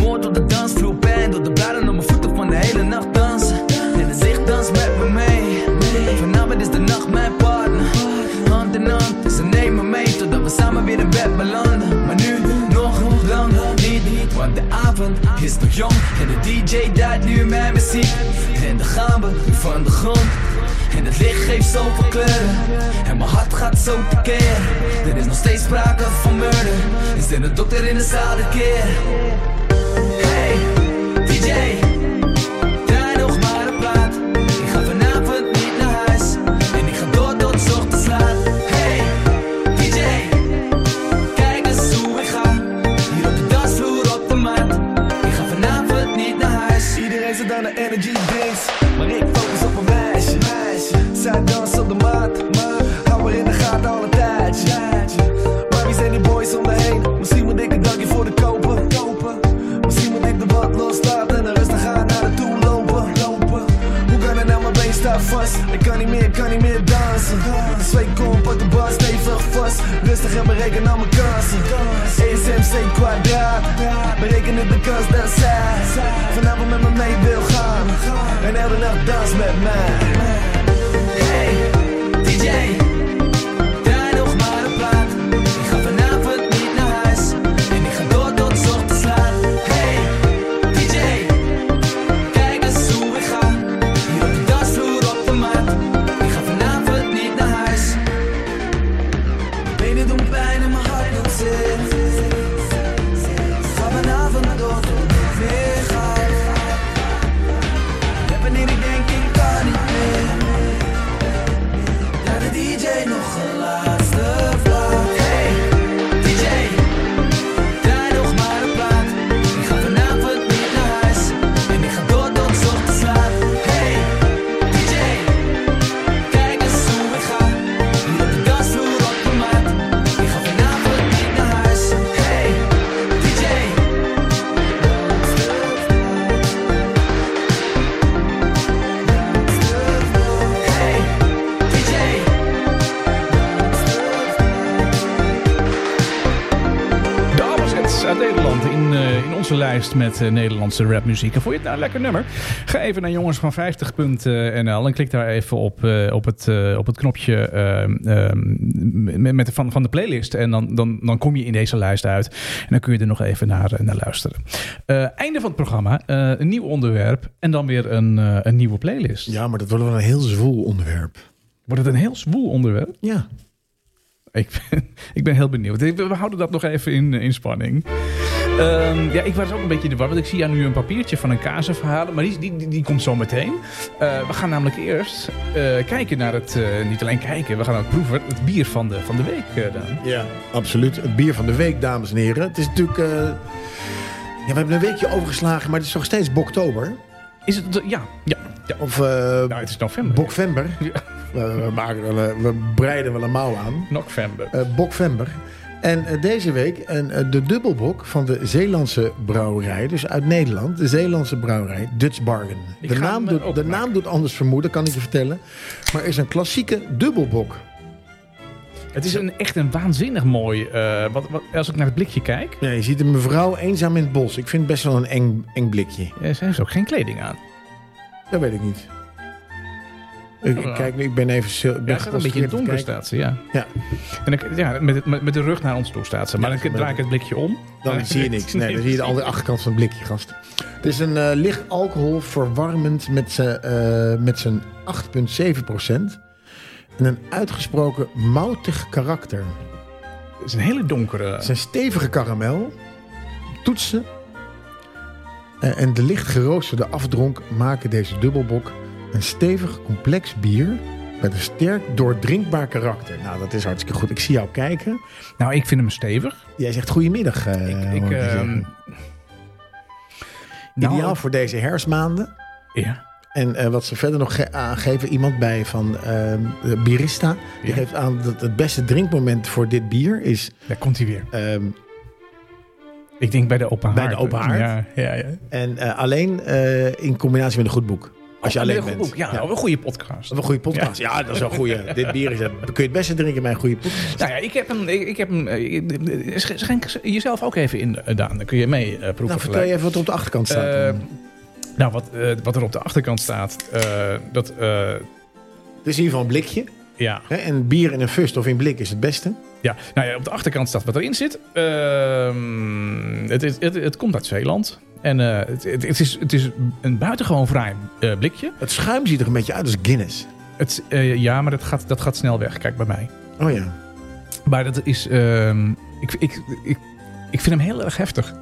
Speaker 6: Moord op de dansvloer, pijn door de bladen om mijn voeten van de hele nacht dansen. En de zicht dans met me mee. Vanavond is de nacht mijn partner. Hand in hand, ze nemen me mee totdat we samen weer in bed belanden. Maar nu nog lang niet, want de avond is nog jong. En de DJ duidt nu mijn muziek. En dan gaan we nu van de grond. En het licht geeft zoveel kleuren En mijn hart gaat zo tekeer Er is nog steeds sprake van murder Is er een dokter in de zaal dit keer? Hey, DJ Draai nog maar een plaat Ik ga vanavond niet naar huis En ik ga door tot 's ochtends laat Hey, DJ Kijk eens hoe ik ga Hier op de dansvloer op de mat Ik ga vanavond niet naar huis
Speaker 7: Iedereen zit aan de energy drinks, maar ik focus op
Speaker 6: nou, vast. Ik kan niet meer, ik kan niet meer dansen. Twee kom, pak de bas, stevig vast. Rustig en bereken al mijn kansen. ESMC kwadraat, bereken ik de kans dat zij vanavond met me mee wil gaan. En heel de nacht dans met mij. Hey, DJ. draai nog maar een plaat. Ik ga vanavond niet naar huis. En ik ga door tot 's ochtends laat. Hey, DJ. Kijk eens hoe ik ga. Hier op de dansvloer op de mat. Ik ga vanavond niet naar huis. Benen doen pijn en mijn hart doet zeer. Ga vanavond door tot ik weer ga. En wanneer ik denk ik kan niet meer. Naar de DJ nog een laatste vlaag. Hey, DJ. Draai nog maar een plaat. Ik ga vanavond niet naar huis. En ik ga door tot 's ochtends laat. Hey, DJ. Kijk eens hoe ik ga. Hier op de dansvloer op de maat. Ik ga vanavond niet naar huis. Hey, DJ. Hey, DJ.
Speaker 1: Dames en uit Nederland in, eh, in onze lijst met eh, Nederlandse rapmuziek. En vond je het nou een lekker nummer? Ga even naar jongensvan50.nl en klik daar even op, eh, op, het, eh, op het knopje ehm, ehm, met, met de, van, van de playlist. En dan, dan, dan kom je in deze lijst uit. En dan kun je er nog even naar, eh, naar luisteren. Eh, einde van het programma. Eh, een nieuw onderwerp en dan weer een, eh, een nieuwe playlist.
Speaker 2: Ja, maar dat wordt wel een heel zwoel onderwerp.
Speaker 1: Wordt het een heel zwoel onderwerp?
Speaker 2: Ja.
Speaker 1: Ik ben, <laughs> ik ben heel benieuwd. We we houden dat nog even in, eh, in spanning. Ehm, ja, ik was ook een beetje in de war, want ik zie ja nu een papiertje van een kazen verhalen. Maar die, die, die, die komt zo meteen. Eh, we gaan namelijk eerst eh, kijken naar het... eh, niet alleen kijken, we gaan ook proeven. Het bier van de, van de week eh, dan.
Speaker 2: Ja, absoluut. Het bier van de week, dames en heren. Het is natuurlijk... eh, Ja, we hebben een weekje overgeslagen, maar het is nog steeds boktober.
Speaker 1: Is het... eh, Ja, ja. ja.
Speaker 2: Of eh
Speaker 1: Nou, het is november.
Speaker 2: bokvember.
Speaker 1: Ja.
Speaker 2: Eh, we, maken wel, eh, we breiden wel een mouw aan.
Speaker 1: November.
Speaker 2: eh Bokvember. En eh, deze week en, eh, de dubbelbok van de Zeelandse brouwerij. Dus uit Nederland. De Zeelandse brouwerij Dutch Bargain.
Speaker 1: Ik
Speaker 2: De
Speaker 1: ga
Speaker 2: naam,
Speaker 1: hem
Speaker 2: doet, de
Speaker 1: openmaken.
Speaker 2: naam doet anders vermoeden, kan ik je vertellen. Maar is een klassieke dubbelbok.
Speaker 1: Het is een, echt een waanzinnig mooi... eh, wat, wat, als ik naar het blikje kijk...
Speaker 2: Ja, je ziet een mevrouw eenzaam in het bos. Ik vind het best wel een eng, eng blikje.
Speaker 1: eh, ze heeft ook geen kleding aan.
Speaker 2: Dat weet ik niet. Ik, ik kijk, nu, ik ben even... stil- Ik ben
Speaker 1: Ja, ze staat een beetje in het
Speaker 2: geconcentreerd
Speaker 1: donker
Speaker 2: te kijken.
Speaker 1: staat ze, ja.
Speaker 2: Ja,
Speaker 1: En dan, ja, met, het- met, met de rug naar ons toe staat ze. Maar
Speaker 2: Ja,
Speaker 1: dan
Speaker 2: maar-
Speaker 1: draai ik het blikje om.
Speaker 2: Dan zie je niks. Nee, dan zie je de andere achterkant van het blikje, gast. Het is een eh, licht alcohol verwarmend met z'n, eh, met zijn 8,7 En een uitgesproken moutig karakter.
Speaker 1: Het is een hele donkere...
Speaker 2: Het zijn stevige karamel, toetsen eh, en de licht geroosterde afdronk maken deze dubbelbok een stevig, complex bier met een sterk, doordrinkbaar karakter. Nou, dat is hartstikke goed. Ik zie jou kijken.
Speaker 1: Nou, ik vind hem stevig.
Speaker 2: Jij zegt goedemiddag. eh, hoor
Speaker 1: ik,
Speaker 2: ik je
Speaker 1: ehm,
Speaker 2: zeggen.
Speaker 1: nou,
Speaker 2: Ideaal voor deze herfstmaanden.
Speaker 1: Ja.
Speaker 2: En eh, wat ze verder nog ge- aangeven, iemand bij van ehm de Birista, die
Speaker 1: Ja.
Speaker 2: geeft aan dat het beste drinkmoment voor dit bier is
Speaker 1: Daar komt hij weer.
Speaker 2: ehm,
Speaker 1: Ik denk bij de open haard.
Speaker 2: Bij de open haard?
Speaker 1: Ja, ja, ja.
Speaker 2: en, eh, alleen eh, in combinatie met een goed boek. Als je
Speaker 1: Oh,
Speaker 2: alleen
Speaker 1: een goed
Speaker 2: bent.
Speaker 1: boek. Ja,
Speaker 2: Ja.
Speaker 1: wel een goede podcast.
Speaker 2: Of een goede podcast. Ja, dat is wel een <laughs> goede. dit bier is het. Kun je het beste drinken bij een goede podcast.
Speaker 1: Nou ja, ik heb hem... Ik, ik heb hem eh, eh, eh, sch- schenk ze- jezelf ook even in, eh, Daan. Dan kun je mee eh, proeven.
Speaker 2: Nou, vertel
Speaker 1: gelijk.
Speaker 2: je even wat er op de achterkant staat.
Speaker 1: Eh,
Speaker 2: dan.
Speaker 1: nou, wat, eh, wat er op de achterkant staat, eh, dat... eh,
Speaker 2: het is in ieder geval een blikje.
Speaker 1: ja,
Speaker 2: Hè? En bier in een fust of in blik is het beste.
Speaker 1: Ja, nou ja, op de achterkant staat wat erin zit. Ehm, het, is- het, het komt uit Zeeland. En eh, het, het, het is, het is een buitengewoon fraai eh, blikje.
Speaker 2: Het schuim ziet er een beetje uit als Guinness.
Speaker 1: Het, eh, ja, maar dat gaat, dat gaat snel weg. Kijk bij mij.
Speaker 2: Oh ja.
Speaker 1: Maar dat is. ehm, ik, ik, ik, ik vind hem heel erg heftig.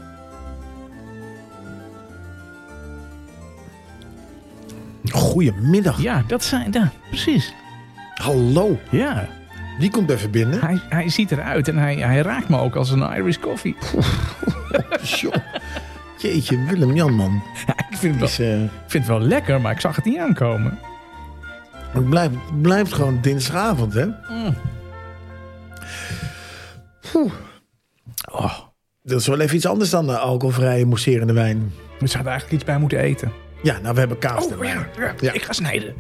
Speaker 2: Goedemiddag.
Speaker 1: Ja, dat zijn. Ja, precies.
Speaker 2: Hallo.
Speaker 1: Ja.
Speaker 2: Die komt even binnen. <laughs>
Speaker 1: Hij, hij ziet eruit en hij, hij raakt me ook als een Irish coffee.
Speaker 2: Tjoh. Jeetje, Willem-Jan,
Speaker 1: <laughs>
Speaker 2: man.
Speaker 1: Ja, ik vind het, wel,
Speaker 2: Is, eh,
Speaker 1: ik vind het wel lekker, maar ik zag het niet aankomen.
Speaker 2: Het blijft, het blijft gewoon dinsdagavond, hè? Oeh.
Speaker 1: Oh,
Speaker 2: Dat is wel even iets anders dan de alcoholvrije mousserende wijn.
Speaker 1: we zouden eigenlijk iets bij moeten eten.
Speaker 2: Ja, nou, we hebben kaas
Speaker 1: Oh
Speaker 2: erbij.
Speaker 1: ja, ja.
Speaker 2: Ja.
Speaker 1: ik ga snijden.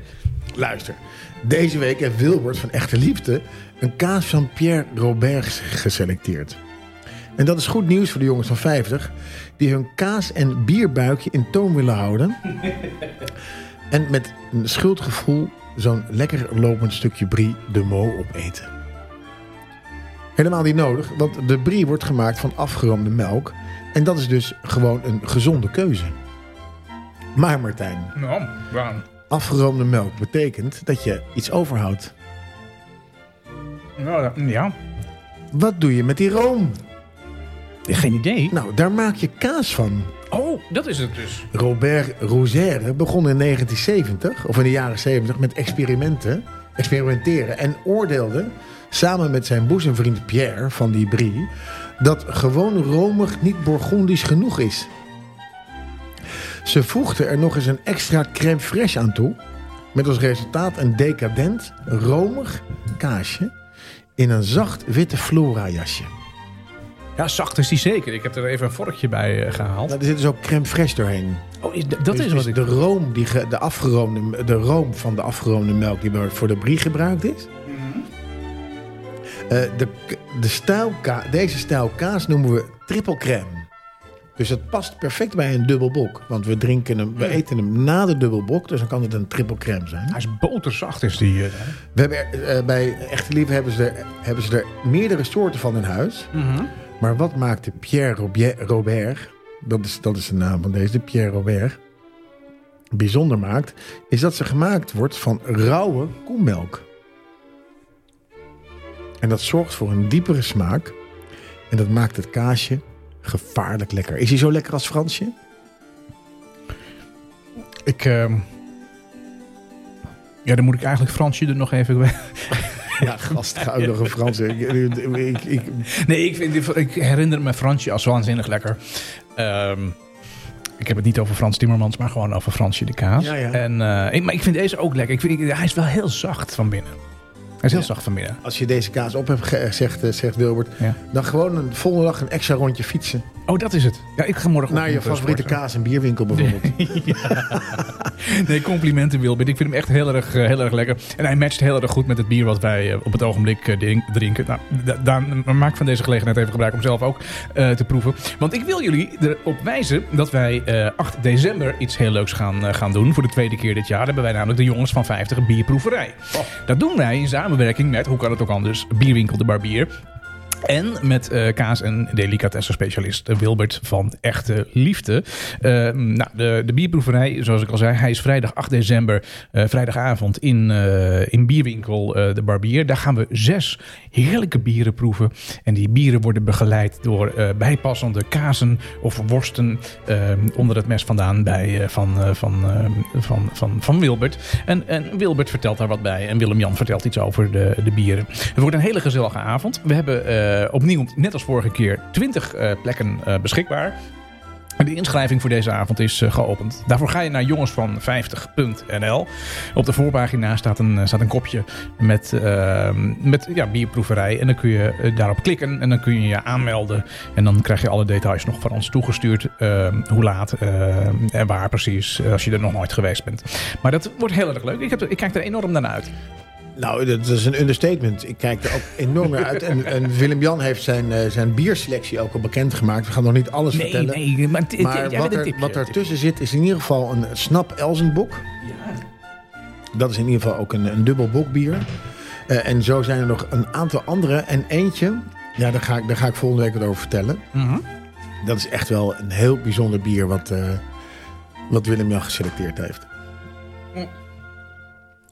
Speaker 2: Luister. Deze week heeft Wilbert van Echte Liefde een kaas van Pierre Robert geselecteerd. En dat is goed nieuws voor de jongens van 50, die hun kaas- en bierbuikje in toom willen houden. en met een schuldgevoel zo'n lekker lopend stukje brie de mo opeten. Helemaal niet nodig, want de brie wordt gemaakt van afgeroomde melk. En dat is dus gewoon een gezonde keuze. Maar Martijn,
Speaker 1: Nou, waarom?
Speaker 2: afgeroomde melk betekent dat je iets overhoudt.
Speaker 1: Nou, ja, ja.
Speaker 2: Wat doe je met die room?
Speaker 1: Geen idee.
Speaker 2: Nou, daar maak je kaas van.
Speaker 1: Oh, dat is het dus.
Speaker 2: Robert Rousserre begon in 1970, of in de jaren 70, met experimenten, experimenteren en oordeelde samen met zijn boezemvriend Pierre van die Brie dat gewoon romig niet bourgondisch genoeg is. Ze voegden er nog eens een extra crème fraîche aan toe, met als resultaat een decadent, romig kaasje in een zacht witte flora jasje.
Speaker 1: Ja, zacht is die zeker. Ik heb er even een vorkje bij eh, gehaald.
Speaker 2: Nou, er zit dus ook crème fraîche doorheen.
Speaker 1: Oh, is, dat
Speaker 2: Dus
Speaker 1: is
Speaker 2: het
Speaker 1: wat ik...
Speaker 2: de room die ge- de, afgeroomde, de room van de afgeroomde melk die wordt voor de brie gebruikt is. Eh, de, k- de stijl ka- deze stijl kaas noemen we triple crème. Dus dat past perfect bij een dubbelbok. Want we, drinken hem, we eten hem na de dubbelbok, dus dan kan het een triple crème zijn.
Speaker 1: Hij is boterzacht, is die. eh.
Speaker 2: We hebben er, eh, bij Echte Liefde hebben ze, er, hebben ze er meerdere soorten van in huis. Maar wat maakte Pierre Robie- Robert, dat is, dat is de naam van deze, Pierre Robert, bijzonder maakt, is dat ze gemaakt wordt van rauwe koemelk. En dat zorgt voor een diepere smaak. En dat maakt het kaasje gevaarlijk lekker. Is hij zo lekker als Fransje?
Speaker 1: Ik... ehm, Ja, dan moet ik eigenlijk Fransje er nog even bij.
Speaker 2: Ja, gast, ga ook nog een Fransje. Ik, ik, ik,
Speaker 1: <laughs> Nee, ik, vind, ik herinner me Fransje als waanzinnig lekker. Ehm, ik heb het niet over Frans Timmermans, maar gewoon over Fransje de kaas.
Speaker 2: Ja, ja.
Speaker 1: En, eh, ik- maar ik vind deze ook lekker. Ik vind, ik- hij is wel heel zacht van binnen. Hij is heel zacht van binnen.
Speaker 2: als je deze kaas op hebt gezegd, zegt, zegt Wilbert,
Speaker 1: Ja.
Speaker 2: dan gewoon een volgende dag een extra rondje fietsen.
Speaker 1: Oh, dat is het. Ja, ik ga morgen
Speaker 2: Naar je favoriete kaas- en bierwinkel bijvoorbeeld.
Speaker 1: <laughs> Nee, complimenten Wilbert. Ik vind hem echt heel erg, eh, heel erg lekker. En hij matcht heel erg goed met het bier wat wij eh, op het ogenblik eh, drink- drinken. Nou, da- Daan, maak van deze gelegenheid even gebruik om zelf ook eh, te proeven. Want ik wil jullie erop wijzen dat wij eh, 8 december iets heel leuks gaan, eh, gaan doen. Voor de tweede keer dit jaar hebben wij namelijk de jongens van 50 een bierproeverij. Dat doen wij in samenwerking met, hoe kan het ook anders, Bierwinkel de Barbier. En met eh, kaas- en delicatessenspecialist Wilbert van Echte Liefde. Eh, nou, de, de bierproeverij, zoals ik al zei, hij is vrijdag 8 december, eh, vrijdagavond in, eh, in bierwinkel eh, De Barbier. Daar gaan we zes heerlijke bieren proeven. En die bieren worden begeleid door eh, bijpassende kazen of worsten eh, onder het mes vandaan bij, eh, van, eh, van, eh, van, van, van Wilbert. En, en Wilbert vertelt daar wat bij en Willem-Jan vertelt iets over de, de bieren. Het wordt een hele gezellige avond. We hebben eh, opnieuw, net als vorige keer, 20 eh, plekken eh, beschikbaar. En De inschrijving voor deze avond is eh, geopend. Daarvoor ga je naar jongensvan50.nl. Op de voorpagina staat een, eh, staat een kopje met, eh, met ja, bierproeverij. En dan kun je eh, daarop klikken en dan kun je je aanmelden. En dan krijg je alle details nog van ons toegestuurd. eh, hoe laat eh, en waar precies, eh, als je er nog nooit geweest bent. Maar dat wordt heel erg leuk. Ik, heb, er- ik kijk er enorm naar uit.
Speaker 2: <laughs> Nou, dat is een understatement. Ik kijk er ook enorm naar uit. En, en Willem-Jan heeft zijn, eh, zijn bierselectie ook al bekendgemaakt. We gaan nog niet alles
Speaker 1: Nee,
Speaker 2: vertellen.
Speaker 1: nee, maar, t-
Speaker 2: Maar
Speaker 1: jij bent
Speaker 2: wat,
Speaker 1: een
Speaker 2: er,
Speaker 1: tipje.
Speaker 2: wat ertussen zit is in ieder geval een Snap Elzenbok. Dat is in ieder geval ook een, een dubbel bokbier. Eh, en zo zijn er nog een aantal andere. En eentje, ja, daar, ga ik, daar ga ik volgende week wat over vertellen.
Speaker 1: Mhm.
Speaker 2: Dat is echt wel een heel bijzonder bier wat, eh, wat Willem-Jan geselecteerd heeft.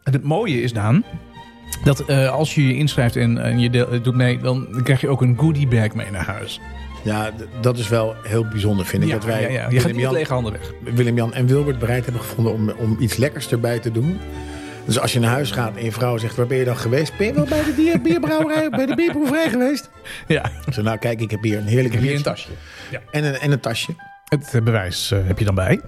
Speaker 1: En het mooie is, Daan, dat eh, als je je inschrijft en, en je deel- doet mee, dan krijg je ook een goodie bag mee naar huis.
Speaker 2: Ja, d- dat is wel heel bijzonder, vind ik. dat wij
Speaker 1: ja, ja. Je gaat niet met
Speaker 2: Willem-Jan-
Speaker 1: lege handen weg.
Speaker 2: Willem-Jan en Wilbert bereid hebben gevonden om, om iets lekkers erbij te doen. Dus als je naar huis gaat en je vrouw zegt, waar ben je dan geweest? Ben je wel bij de dier-
Speaker 1: <laughs>
Speaker 2: bierbrouwerij, bij de bierproeverij geweest?
Speaker 1: Ja,
Speaker 2: Ik zei, nou kijk, ik heb hier een heerlijk
Speaker 1: hier een
Speaker 2: bier
Speaker 1: tasje.
Speaker 2: en een, en een tasje.
Speaker 1: Het eh, bewijs eh, heb je dan bij.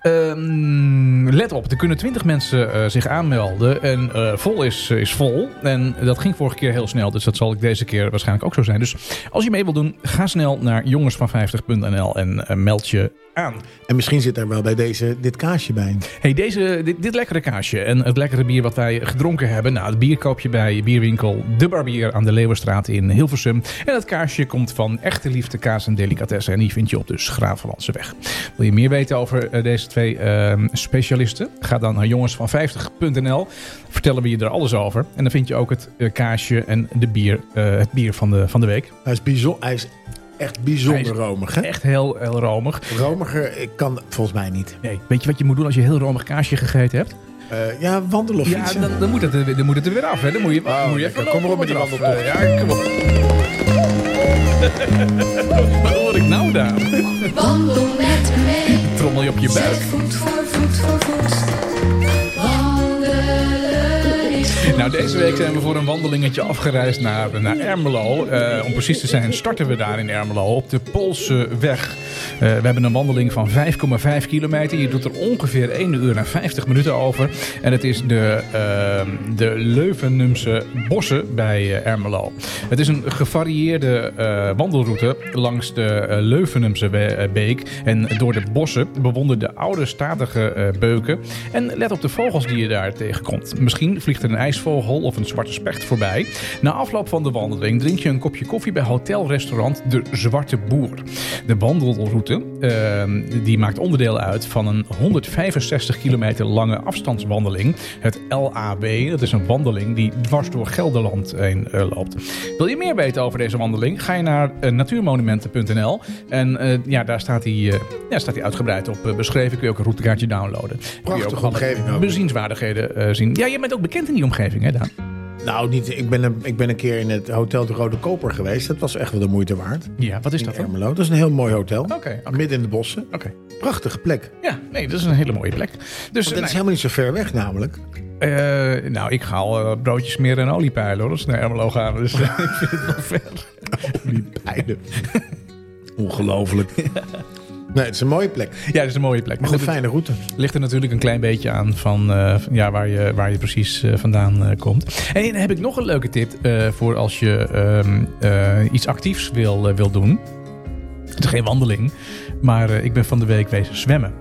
Speaker 1: Ehm, let op, er kunnen 20 mensen eh, zich aanmelden. En eh, vol is, eh, is vol. En dat ging vorige keer heel snel. Dus dat zal ik deze keer waarschijnlijk ook zo zijn. Dus als je mee wilt doen, ga snel naar jongensvan50.nl en eh, meld je aan.
Speaker 2: En misschien zit er wel bij deze dit kaasje bij.
Speaker 1: Hey, deze, dit, dit lekkere kaasje en het lekkere bier wat wij gedronken hebben. Nou, het bier koop je bij bierwinkel De Barbier aan de Leeuwenstraat in Hilversum. En dat kaasje komt van Echte Liefde Kaas en Delicatessen. En die vind je op de Schravenlandseweg. Wil je meer weten over eh, deze twee ehm, specialisten? Ga dan naar jongensvan50.nl. Vertellen we je er alles over. En dan vind je ook het eh, kaasje en de bier, eh, het bier van de, van de week.
Speaker 2: Hij is, bijzo- hij is echt bijzonder
Speaker 1: Hij is-
Speaker 2: romig. Hè?
Speaker 1: Echt heel, heel romig.
Speaker 2: Romiger eh, kan volgens mij niet.
Speaker 1: Nee, weet je wat je moet doen als je heel romig kaasje gegeten hebt?
Speaker 2: Eh, ja, wandelen of
Speaker 1: Ja,
Speaker 2: fietsen.
Speaker 1: dan, dan, moet het, er weer- dan moet het er weer af. Hè? Dan moet je,
Speaker 2: Oh,
Speaker 1: moet je
Speaker 2: lekker.
Speaker 1: even
Speaker 2: Kom maar op met die
Speaker 1: eraf.
Speaker 2: wandeltocht.
Speaker 1: Eh, Ja, kom op.
Speaker 2: <laughs>
Speaker 1: Wat hoor ik nou daar? <laughs>
Speaker 7: Wandel met me mee.
Speaker 1: Trommel je op je
Speaker 7: Zet
Speaker 1: buik.
Speaker 7: voet voor voet voor voet. Wandelen is goed.
Speaker 1: Nou, deze week zijn we voor een wandelingetje afgereisd naar, naar Ermelo. Eh, om precies te zijn starten we daar in Ermelo op de Poolse weg. Eh, we hebben een wandeling van 5,5 kilometer. Je doet er ongeveer 1 uur en 50 minuten over. En het is de, eh, de Leuvenumse bossen bij eh, Ermelo. Het is een gevarieerde eh, wandelroute langs de eh, Leuvenumse we- eh, beek en door de bossen. Bewonder de oude statige eh, beuken en let op de vogels die je daar tegenkomt. Misschien vliegt er een ijsvogel of een zwarte specht voorbij. Na afloop van de wandeling drink je een kopje koffie bij hotelrestaurant De Zwarte Boer. De wandelroute eh, die maakt onderdeel uit van een 165 kilometer lange afstandswandeling. Het LAB, dat is een wandeling die dwars door Gelderland heen eh, loopt. Wil je meer weten over deze wandeling? Ga je naar eh, natuurmonumenten.nl. En eh, ja, daar staat hij eh, ja, staat hij uitgebreid op eh, beschreven. Kun je ook een routekaartje downloaden. Kun je
Speaker 2: Prachtige
Speaker 1: ook alle
Speaker 2: omgeving ook.
Speaker 1: Bezienswaardigheden eh, zien. Ja, je bent ook bekend in die omgeving, hè Daan?
Speaker 2: Nou, niet, ik, ben een, ik ben een keer in het Hotel de Rode Koper geweest. Dat was echt wel de moeite waard.
Speaker 1: Ja, wat is
Speaker 2: In
Speaker 1: dat dan? Oké,
Speaker 2: Ermelo. Dat is een heel mooi hotel.
Speaker 1: oké.
Speaker 2: Midden in de bossen. Prachtige plek. Want
Speaker 1: Ja, nee, dat is een hele mooie plek. Dus
Speaker 2: dat
Speaker 1: nou,
Speaker 2: is helemaal niet zo ver weg namelijk.
Speaker 1: eh, nou, ik ga al eh, broodjes smeren en oliepijlen hoor. Als we naar Ermelo gaan, <laughs> dus eh, ik vind het wel ver.
Speaker 2: Beide. Ongelooflijk. <laughs> Nee, het is een mooie plek.
Speaker 1: Ja, dat is een mooie plek. Maar
Speaker 2: Met een
Speaker 1: goed, het-
Speaker 2: fijne route.
Speaker 1: ligt er natuurlijk een klein beetje aan van eh, van, ja, waar, je, waar je precies eh, vandaan eh, komt. En dan heb ik nog een leuke tip eh, voor als je ehm, eh, iets actiefs wil, eh, wil doen. Het is geen wandeling, maar eh, ik ben van de week bezig zwemmen.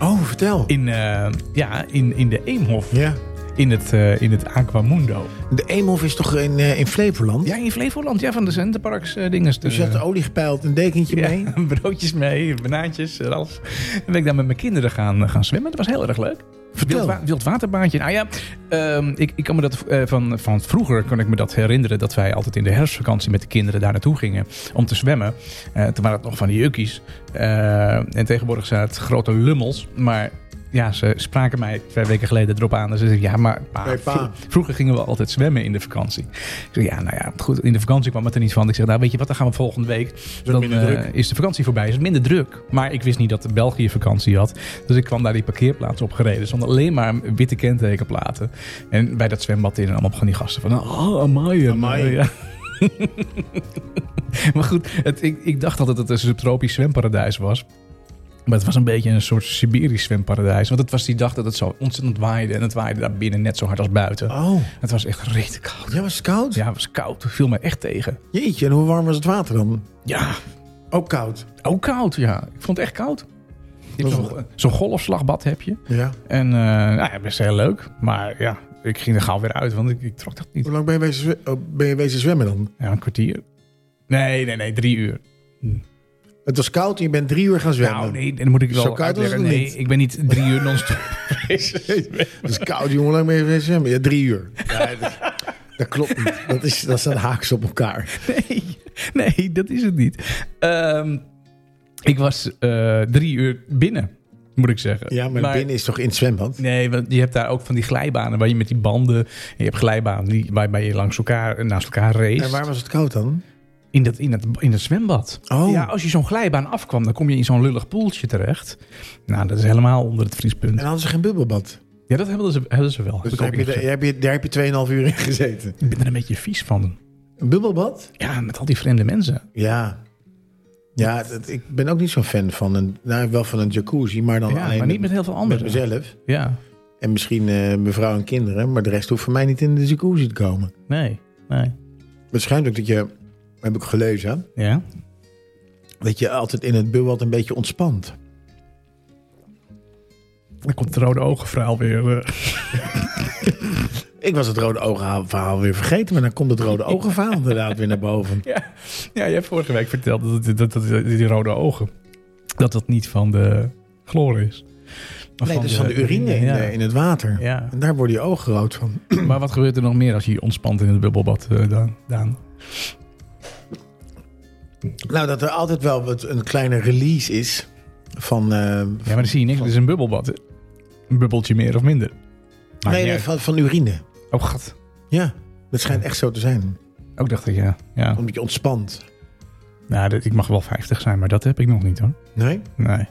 Speaker 2: Oh, vertel.
Speaker 1: In, eh, ja, in, in de Eemhof,
Speaker 2: Ja.
Speaker 1: in het, eh, in het Aquamundo.
Speaker 2: De Eemhof is toch in, eh, in Flevoland?
Speaker 1: Ja, in Flevoland, ja, van de Centerparks eh dinges.
Speaker 2: Dus je had de olie gepeild, een dekentje
Speaker 1: ja,
Speaker 2: mee.
Speaker 1: <laughs> broodjes mee, banaantjes, en alles. En ben ik daar met mijn kinderen gaan, eh, gaan zwemmen. Dat was heel erg leuk.
Speaker 2: Vertel.
Speaker 1: Wildwa- wildwaterbaantje. Nou ja, ehm, ik, ik kan me dat eh, van, van vroeger kon ik me dat herinneren dat wij altijd in de herfstvakantie met de kinderen daar naartoe gingen om te zwemmen. Eh, toen waren het nog van die jukkies. Eh, en tegenwoordig zijn het grote lummels. Maar ja, ze spraken mij twee weken geleden erop aan. En ze zeiden, ja, maar pa,
Speaker 2: Hey, pa.
Speaker 1: Ah, vro- vroeger gingen we altijd zwemmen in de vakantie. Ik zei, ja, nou ja, goed, in de vakantie kwam het er niet van. Ik zeg, nou weet je wat, dan gaan we volgende week. Dan
Speaker 2: minder
Speaker 1: eh,
Speaker 2: druk.
Speaker 1: is de vakantie voorbij, is het minder druk. Maar ik wist niet dat België vakantie had. Dus ik kwam daar die parkeerplaats op gereden. Er stonden alleen maar witte kentekenplaten. En bij dat zwembad in en allemaal van die gasten van... Oh, amai. <laughs>
Speaker 2: Amai.
Speaker 1: Ja. maar goed, het, ik, ik dacht altijd dat het een subtropisch zwemparadijs was. Maar het was een beetje een soort Siberisch zwemparadijs. Want het was die dag dat het zo ontzettend waaide. En het waaide daar binnen net zo hard als buiten.
Speaker 2: Oh,
Speaker 1: Het was echt rete koud.
Speaker 2: ja, was het koud?
Speaker 1: Ja, het was koud. Het viel mij echt tegen.
Speaker 2: Jeetje, en hoe warm was het water dan?
Speaker 1: Ja,
Speaker 2: Ook koud.
Speaker 1: ook koud, ja. Ik vond het echt koud. Je hebt
Speaker 2: Dat is
Speaker 1: Zo'n eh, zo'n golfslagbad heb je.
Speaker 2: Ja.
Speaker 1: En eh, nou ja, best heel leuk. Maar ja, ik ging er gauw weer uit, want ik, ik trok dat niet.
Speaker 2: Hoe lang ben je, wezen, zwe- oh, ben je wezen zwemmen dan?
Speaker 1: Ja, een kwartier. Nee, nee, nee, drie uur.
Speaker 2: Het was koud en je bent drie uur gaan zwemmen.
Speaker 1: Nou, nee, dan moet ik wel
Speaker 2: Zo koud was
Speaker 1: uitleggen.
Speaker 2: het
Speaker 1: nee,
Speaker 2: niet.
Speaker 1: ik ben niet drie uur
Speaker 2: <laughs>
Speaker 1: non-stop.
Speaker 2: Het is koud, jongen. Hoe lang ben je wezen zwemmen? <laughs> Ja, drie uur. dat, dat klopt niet. Dat, is, dat staat haaks op elkaar.
Speaker 1: Nee, nee, dat is het niet. Ehm, ik was eh, drie uur binnen, moet ik zeggen.
Speaker 2: Ja, maar, binnen is toch in het zwembad?
Speaker 1: Nee, want je hebt daar ook van die glijbanen waar je met die banden... en Je hebt glijbanen die, waarbij je langs elkaar, eh, naast elkaar race.
Speaker 2: En waar was het koud dan?
Speaker 1: In dat, in dat, in dat zwembad.
Speaker 2: Oh.
Speaker 1: Ja, als je zo'n glijbaan afkwam, dan kom je in zo'n lullig poeltje terecht. Nou, dat is helemaal onder het vriespunt.
Speaker 2: En hadden ze geen bubbelbad.
Speaker 1: Ja, dat hebben ze, hebben ze wel. Heb
Speaker 2: Dus
Speaker 1: ik
Speaker 2: daar
Speaker 1: ook
Speaker 2: heb, je, daar,
Speaker 1: ingezet.
Speaker 2: heb je, daar heb je 2,5 uur in gezeten.
Speaker 1: ik ben er een beetje vies van.
Speaker 2: Een bubbelbad?
Speaker 1: Ja, met al die vreemde mensen.
Speaker 2: Ja. Ja, dat- ik ben ook niet zo'n fan van een, nou, wel van een jacuzzi, maar dan
Speaker 1: Ja,
Speaker 2: alleen
Speaker 1: maar niet met heel veel anderen.
Speaker 2: mezelf.
Speaker 1: Ja,
Speaker 2: En misschien eh, mijn vrouw en kinderen, maar de rest hoeft voor mij niet in de jacuzzi te komen.
Speaker 1: nee, nee.
Speaker 2: Waarschijnlijk dat je, heb ik gelezen,
Speaker 1: Ja,
Speaker 2: dat je altijd in het bubbad een beetje ontspant.
Speaker 1: dan komt de rode ogen verhaal weer. eh.
Speaker 2: Ik was het rode ogen verhaal weer vergeten, maar dan komt het rode ogen verhaal inderdaad weer naar
Speaker 1: <laughs>
Speaker 2: boven.
Speaker 1: Ja. ja, je hebt vorige week verteld dat, dat, dat, dat- die rode ogen, dat dat niet van de chloor is. Maar
Speaker 2: Nee, dus van de urine in,
Speaker 1: ja.
Speaker 2: de- in het water.
Speaker 1: Ja.
Speaker 2: En daar worden je ogen rood van.
Speaker 1: Maar wat gebeurt er nog meer als je je ontspant in het bubbelbad, eh, Daan? Daan?
Speaker 2: Nou, dat er altijd wel wat, een kleine release is van, eh,
Speaker 1: Ja, maar dan zie je niks. Het is een bubbelbad. hè. Een bubbeltje meer of minder. Maar
Speaker 2: nee, nee, van, van urine.
Speaker 1: Oh, gat.
Speaker 2: Ja, dat schijnt echt zo te zijn.
Speaker 1: Ook dacht ik, ja. ja.
Speaker 2: Omdat je ontspant.
Speaker 1: Nou, dit- ik mag wel 50 zijn, maar dat heb ik nog niet hoor.
Speaker 2: Nee?
Speaker 1: Nee. nee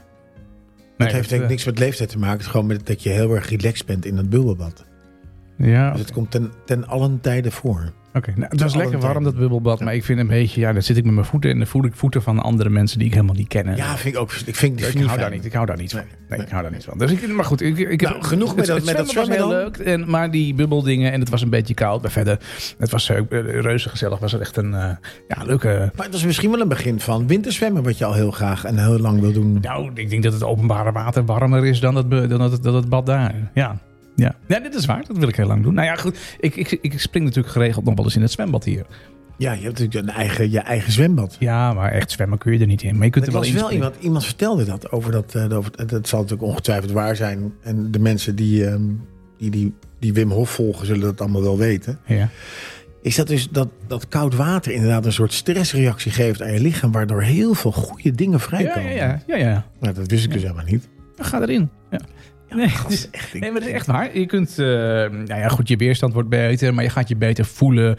Speaker 2: Dat heeft denk ik
Speaker 1: eh,
Speaker 2: niks met leeftijd te maken. Het is gewoon met dat je heel erg relaxed bent in dat bubbelbad.
Speaker 1: Ja,
Speaker 2: Dus het komt ten, ten allen tijde voor.
Speaker 1: oké. Nou, het was
Speaker 2: alle
Speaker 1: lekker warm,
Speaker 2: tijden.
Speaker 1: dat bubbelbad. Maar ik vind een beetje, ja, dan zit ik met mijn voeten en dan voel ik voeten van andere mensen die ik helemaal niet ken.
Speaker 2: Ja, vind ik ook. Ik vind het
Speaker 1: ik
Speaker 2: niet
Speaker 1: hou daar
Speaker 2: fijn.
Speaker 1: niet, ik hou daar niet van.
Speaker 2: Nee,
Speaker 1: Nee, ik hou daar niet van. Dus ik, maar goed, ik, ik heb-
Speaker 2: Nou, genoeg met dat- met dat
Speaker 1: was heel
Speaker 2: zwemmen
Speaker 1: leuk. En, maar die bubbeldingen, en het was een beetje koud. Maar verder, het was eh, reuze gezellig. Was het echt een eh, ja, leuke
Speaker 2: Maar dat is misschien wel een begin van winterzwemmen, wat je al heel graag en heel lang wil doen.
Speaker 1: Nou, ik denk dat het openbare water warmer is dan het, be- dan het, dan het bad daar. Ja. Ja. ja, dit is waar. Dat wil ik heel lang doen. Nou ja, goed. Ik, ik, ik spring natuurlijk geregeld nog wel eens in het zwembad hier.
Speaker 2: Ja, je hebt natuurlijk een eigen, je eigen zwembad.
Speaker 1: Ja, maar echt zwemmen kun je er niet in. Maar je kunt
Speaker 2: Er
Speaker 1: er wel
Speaker 2: was
Speaker 1: in
Speaker 2: wel
Speaker 1: springen.
Speaker 2: iemand, iemand vertelde dat over dat. eh, over, dat- dat zal natuurlijk ongetwijfeld waar zijn. En de mensen die, ehm, die, die, die Wim Hof volgen, zullen dat allemaal wel weten.
Speaker 1: Ja.
Speaker 2: Is dat dus dat, dat koud water inderdaad een soort stressreactie geeft aan je lichaam, waardoor heel veel goede dingen
Speaker 1: Ja,
Speaker 2: vrijkomen?
Speaker 1: ja, ja, ja, ja.
Speaker 2: Nou, dat wist ik dus helemaal niet.
Speaker 1: Dan Ga erin. Ja. Nee, het is- nee, maar het is echt waar. Je kunt, eh, nou ja, goed, je weerstand wordt beter, maar je gaat je beter voelen.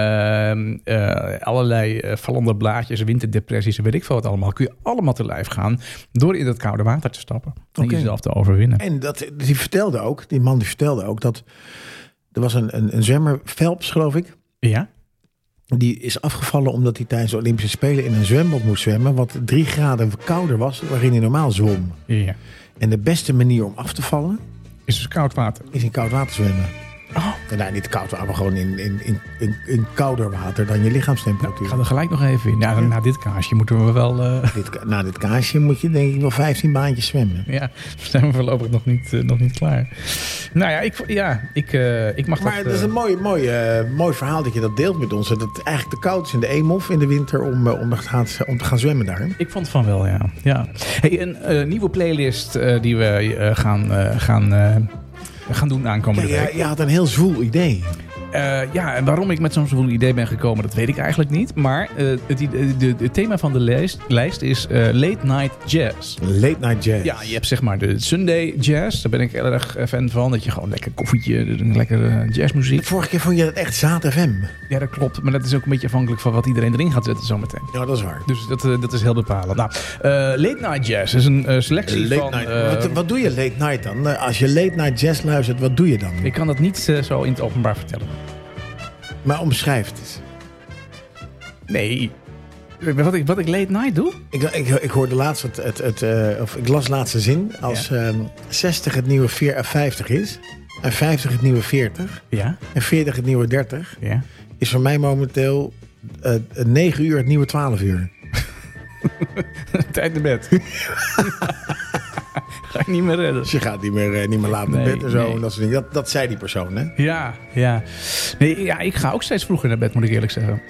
Speaker 1: Ehm, eh, allerlei eh, vallende blaadjes, winterdepressies, en weet ik veel wat allemaal. Kun je allemaal te lijf gaan door in dat koude water te stappen. En
Speaker 2: Oké.
Speaker 1: jezelf te overwinnen.
Speaker 2: En dat, die vertelde ook, die man die vertelde ook dat er was een, een, een zwemmer, Phelps geloof ik,
Speaker 1: Ja?
Speaker 2: die is afgevallen omdat hij tijdens de Olympische Spelen in een zwembad moest zwemmen, wat drie graden kouder was waarin hij normaal zwom.
Speaker 1: Ja.
Speaker 2: En de beste manier om af te vallen
Speaker 1: Is dus koud water.
Speaker 2: is in koud water zwemmen.
Speaker 1: Oh.
Speaker 2: En nou, niet koud water, maar gewoon in, in, in, in, in kouder water dan je lichaamstemperatuur.
Speaker 1: Ik ga er gelijk nog even in. Nou, na dit kaasje moeten we wel... eh, <laughs>
Speaker 2: Dit, ka- na dit kaasje moet je denk ik wel 15 baantjes zwemmen.
Speaker 1: ja, we zijn voorlopig nog niet, eh, nog niet klaar. Nou ja, ik, ja, ik, eh, ik mag
Speaker 2: Maar
Speaker 1: dat...
Speaker 2: het is
Speaker 1: eh,
Speaker 2: een mooi, mooi, eh, mooi verhaal dat je dat deelt met ons. Dat het eigenlijk te koud is in de Eemhof in de winter om, eh, om, te, gaan, om te gaan zwemmen daar.
Speaker 1: Ik vond van wel, ja. ja. Hey, een eh, nieuwe playlist eh, die we eh, gaan, eh, gaan, eh, gaan doen aankomende
Speaker 2: Ja,
Speaker 1: week.
Speaker 2: je had een heel zwoel idee.
Speaker 1: Eh, ja, en waarom ik met zo'n zo'n idee ben gekomen, dat weet ik eigenlijk niet. Maar eh, het, ide- de, het thema van de lijst, lijst is eh, Late Night Jazz.
Speaker 2: Late night jazz.
Speaker 1: Ja, je hebt zeg maar de Sunday jazz. Daar ben ik heel erg eh, fan van. Dat je gewoon lekker koffietje, lekker eh, jazzmuziek.
Speaker 2: Vorige keer vond je dat echt ZFM.
Speaker 1: Ja, dat klopt. Maar dat is ook een beetje afhankelijk van wat iedereen erin gaat zetten zometeen.
Speaker 2: Ja, dat is waar.
Speaker 1: Dus dat, eh, dat is heel bepalend. Nou, eh, Late Night Jazz is een eh, selectie
Speaker 2: Late
Speaker 1: van...
Speaker 2: night.
Speaker 1: eh,
Speaker 2: wat, wat doe je late night dan? Eh, Als je late night jazz luistert, wat doe je dan?
Speaker 1: ik kan dat niet eh, zo in het openbaar vertellen.
Speaker 2: Maar omschrijf het eens.
Speaker 1: Nee. Wat ik, wat ik late night doe?
Speaker 2: Ik, ik, ik hoorde laatst het, het, het eh, of ik las laatste zin. Als ehm, 60 het nieuwe 4 en 50 is, en 50 het nieuwe 40,
Speaker 1: Ja.
Speaker 2: en 40 het nieuwe 30,
Speaker 1: Ja.
Speaker 2: is voor mij momenteel eh 9 uur het nieuwe 12 uur.
Speaker 1: <laughs> Tijd naar bed. <laughs> Ga ik niet meer redden.
Speaker 2: Dus je gaat niet meer, eh, niet meer laat naar
Speaker 1: Nee,
Speaker 2: bed en zo.
Speaker 1: nee.
Speaker 2: En dat, soort dingen. dat, dat zei die persoon, hè?
Speaker 1: Ja, ja. Nee, ja, ik ga ook steeds vroeger naar bed, moet ik eerlijk zeggen.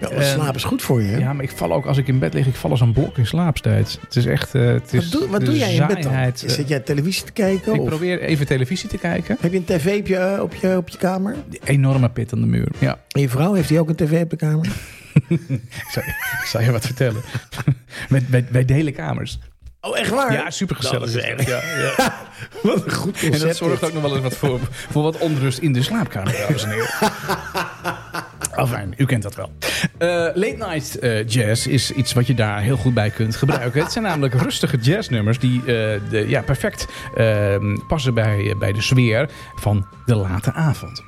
Speaker 2: Ja, want
Speaker 1: Eh,
Speaker 2: slaap is goed voor je. hè?
Speaker 1: Ja, maar ik val ook als ik in bed lig, ik val als een blok in slaapstijd. Het is echt. eh, het is
Speaker 2: wat doe, wat
Speaker 1: de
Speaker 2: doe jij in bed dan?
Speaker 1: saaiheid, eh.
Speaker 2: Zit jij televisie te kijken?
Speaker 1: ik
Speaker 2: of
Speaker 1: probeer even televisie te kijken.
Speaker 2: Heb je een tv op je, eh, op, je, op je kamer?
Speaker 1: Die enorme pit aan de muur. Ja,
Speaker 2: En je vrouw, heeft die ook een tv op de
Speaker 1: <laughs>
Speaker 2: kamer?
Speaker 1: ik zal, ik zal je wat vertellen. <laughs> wij, wij, wij delen kamers.
Speaker 2: Oh, echt waar?
Speaker 1: Ja, supergezellig.
Speaker 2: Dat is echt-
Speaker 1: Ja, ja. <laughs>
Speaker 2: Wat een goed concept.
Speaker 1: En dat zorgt
Speaker 2: dit.
Speaker 1: ook nog wel eens wat voor, voor wat onrust in de slaapkamer, dames en <laughs> heren. Afijn, u kent dat wel. Eh, late night eh, jazz is iets wat je daar heel goed bij kunt gebruiken. Het zijn namelijk rustige jazznummers die eh, ehm, de, ja, perfect eh, passen bij, bij de sfeer van de late avond.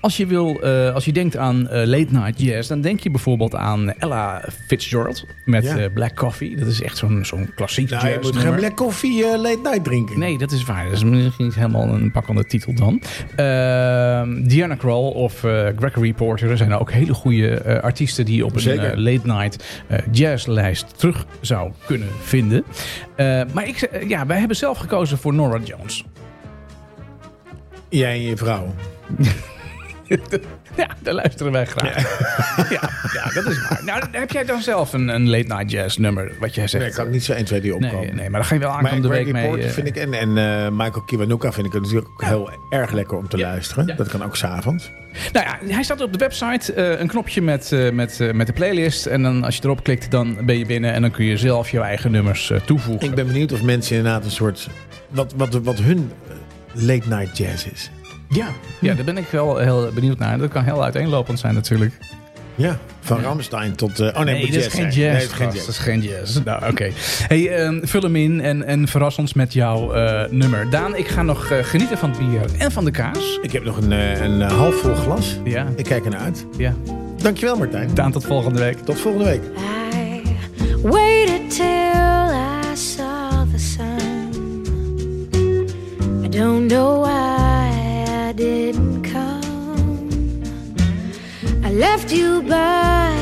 Speaker 1: Als je, wil, eh, als je denkt aan eh, late night jazz, dan denk je bijvoorbeeld aan Ella Fitzgerald met
Speaker 2: Ja.
Speaker 1: eh, Black Coffee. Dat is echt zo'n zo'n klassiek
Speaker 2: Nou, je
Speaker 1: jazz
Speaker 2: moet geen
Speaker 1: nummer.
Speaker 2: black koffie eh, late night drinken.
Speaker 1: Nee, dat is waar. Dat is misschien niet helemaal een pakkende titel dan. Ehm Diana Krall of eh, Gregory Porter. Er zijn ook hele goede eh, artiesten die op een
Speaker 2: Zeker.
Speaker 1: eh, late night eh, jazzlijst terug zou kunnen vinden. Eh, maar ik, ze- ja, wij hebben zelf gekozen voor Nora Jones. <laughs>
Speaker 2: Jij en je vrouw.
Speaker 1: Ja, daar luisteren wij graag. <laughs> Ja, ja, dat is waar. Nou, heb jij dan zelf een, een late night jazz nummer? Wat jij zegt.
Speaker 2: Nee, ik kan niet zo 1, 2, 3
Speaker 1: nee,
Speaker 2: opkomen.
Speaker 1: nee, maar daar ga je wel
Speaker 2: Maar
Speaker 1: aankomende
Speaker 2: Greg
Speaker 1: week mee.
Speaker 2: Porter
Speaker 1: eh,
Speaker 2: vind ik en, en eh, Michael Kiwanuka vind ik het natuurlijk ook heel erg lekker om te luisteren.
Speaker 1: Ja.
Speaker 2: Dat kan ook s'avonds.
Speaker 1: Nou ja, hij staat op de website. eh, een knopje met, eh, met, eh, met de playlist. En dan als je erop klikt, dan ben je binnen. En dan kun je zelf je eigen nummers eh, toevoegen.
Speaker 2: Ik ben benieuwd of mensen inderdaad een soort... Wat, wat, wat hun eh, late night jazz is.
Speaker 1: Ja. ja, daar ben ik wel heel benieuwd naar. Dat kan heel uiteenlopend zijn natuurlijk.
Speaker 2: Ja, van Ramstein tot... eh, oh nee, het moet
Speaker 1: dat is
Speaker 2: jazz
Speaker 1: geen
Speaker 2: zijn.
Speaker 1: jazz.
Speaker 2: Nee, het is geen
Speaker 1: gast.
Speaker 2: jazz.
Speaker 1: Dat is geen jazz. Nou, oké. Hey, ehm, vul hem in en, en verras ons met jouw eh, nummer. Daan, ik ga nog eh, genieten van het bier en van de kaas.
Speaker 2: Ik heb nog een, eh, een eh, halfvol glas.
Speaker 1: Ja,
Speaker 2: Ik kijk ernaar uit.
Speaker 1: ja.
Speaker 2: Dankjewel Martijn.
Speaker 1: Daan, tot volgende week.
Speaker 2: Tot volgende week.
Speaker 8: I waited till I saw the sun. I don't know why I didn't come. I left you by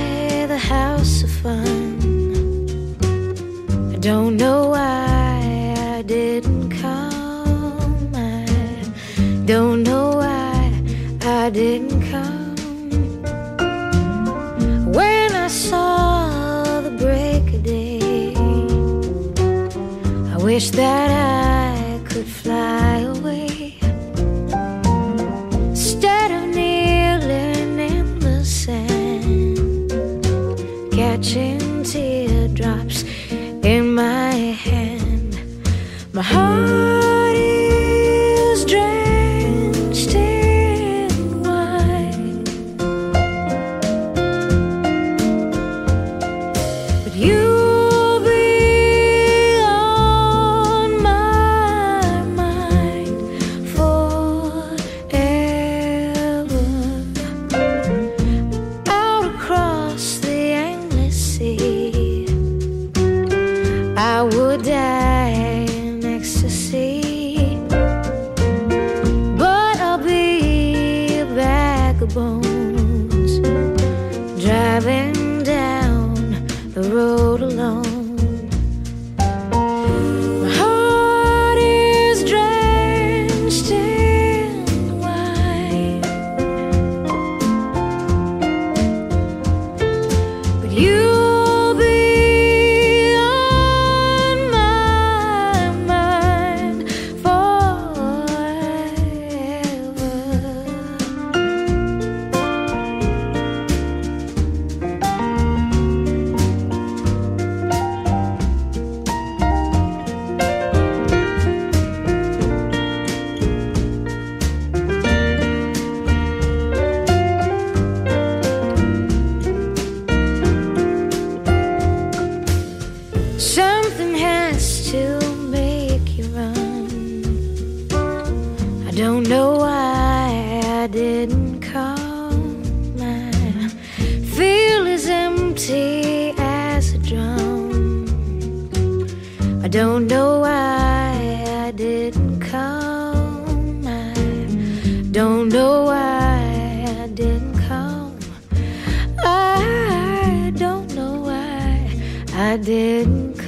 Speaker 8: the house of fun. I don't know why I didn't come. I don't know why I didn't come. When I saw the break of day, I wish that I could fly away. Instead of kneeling in the sand, catching teardrops in my hand, my heart is drenched in wine. But you'll be on my mind forever. Out across the endless sea, I would die in ecstasy. But I'll be a bag of bones driving down the road alone. My heart is drenched in wine, but you'll be on my mind forever. Something has to make you run. I don't know why I didn't come. I feel as empty as a drum. I don't know why I didn't come. I don't know why I didn't come. I don't know why I didn't come.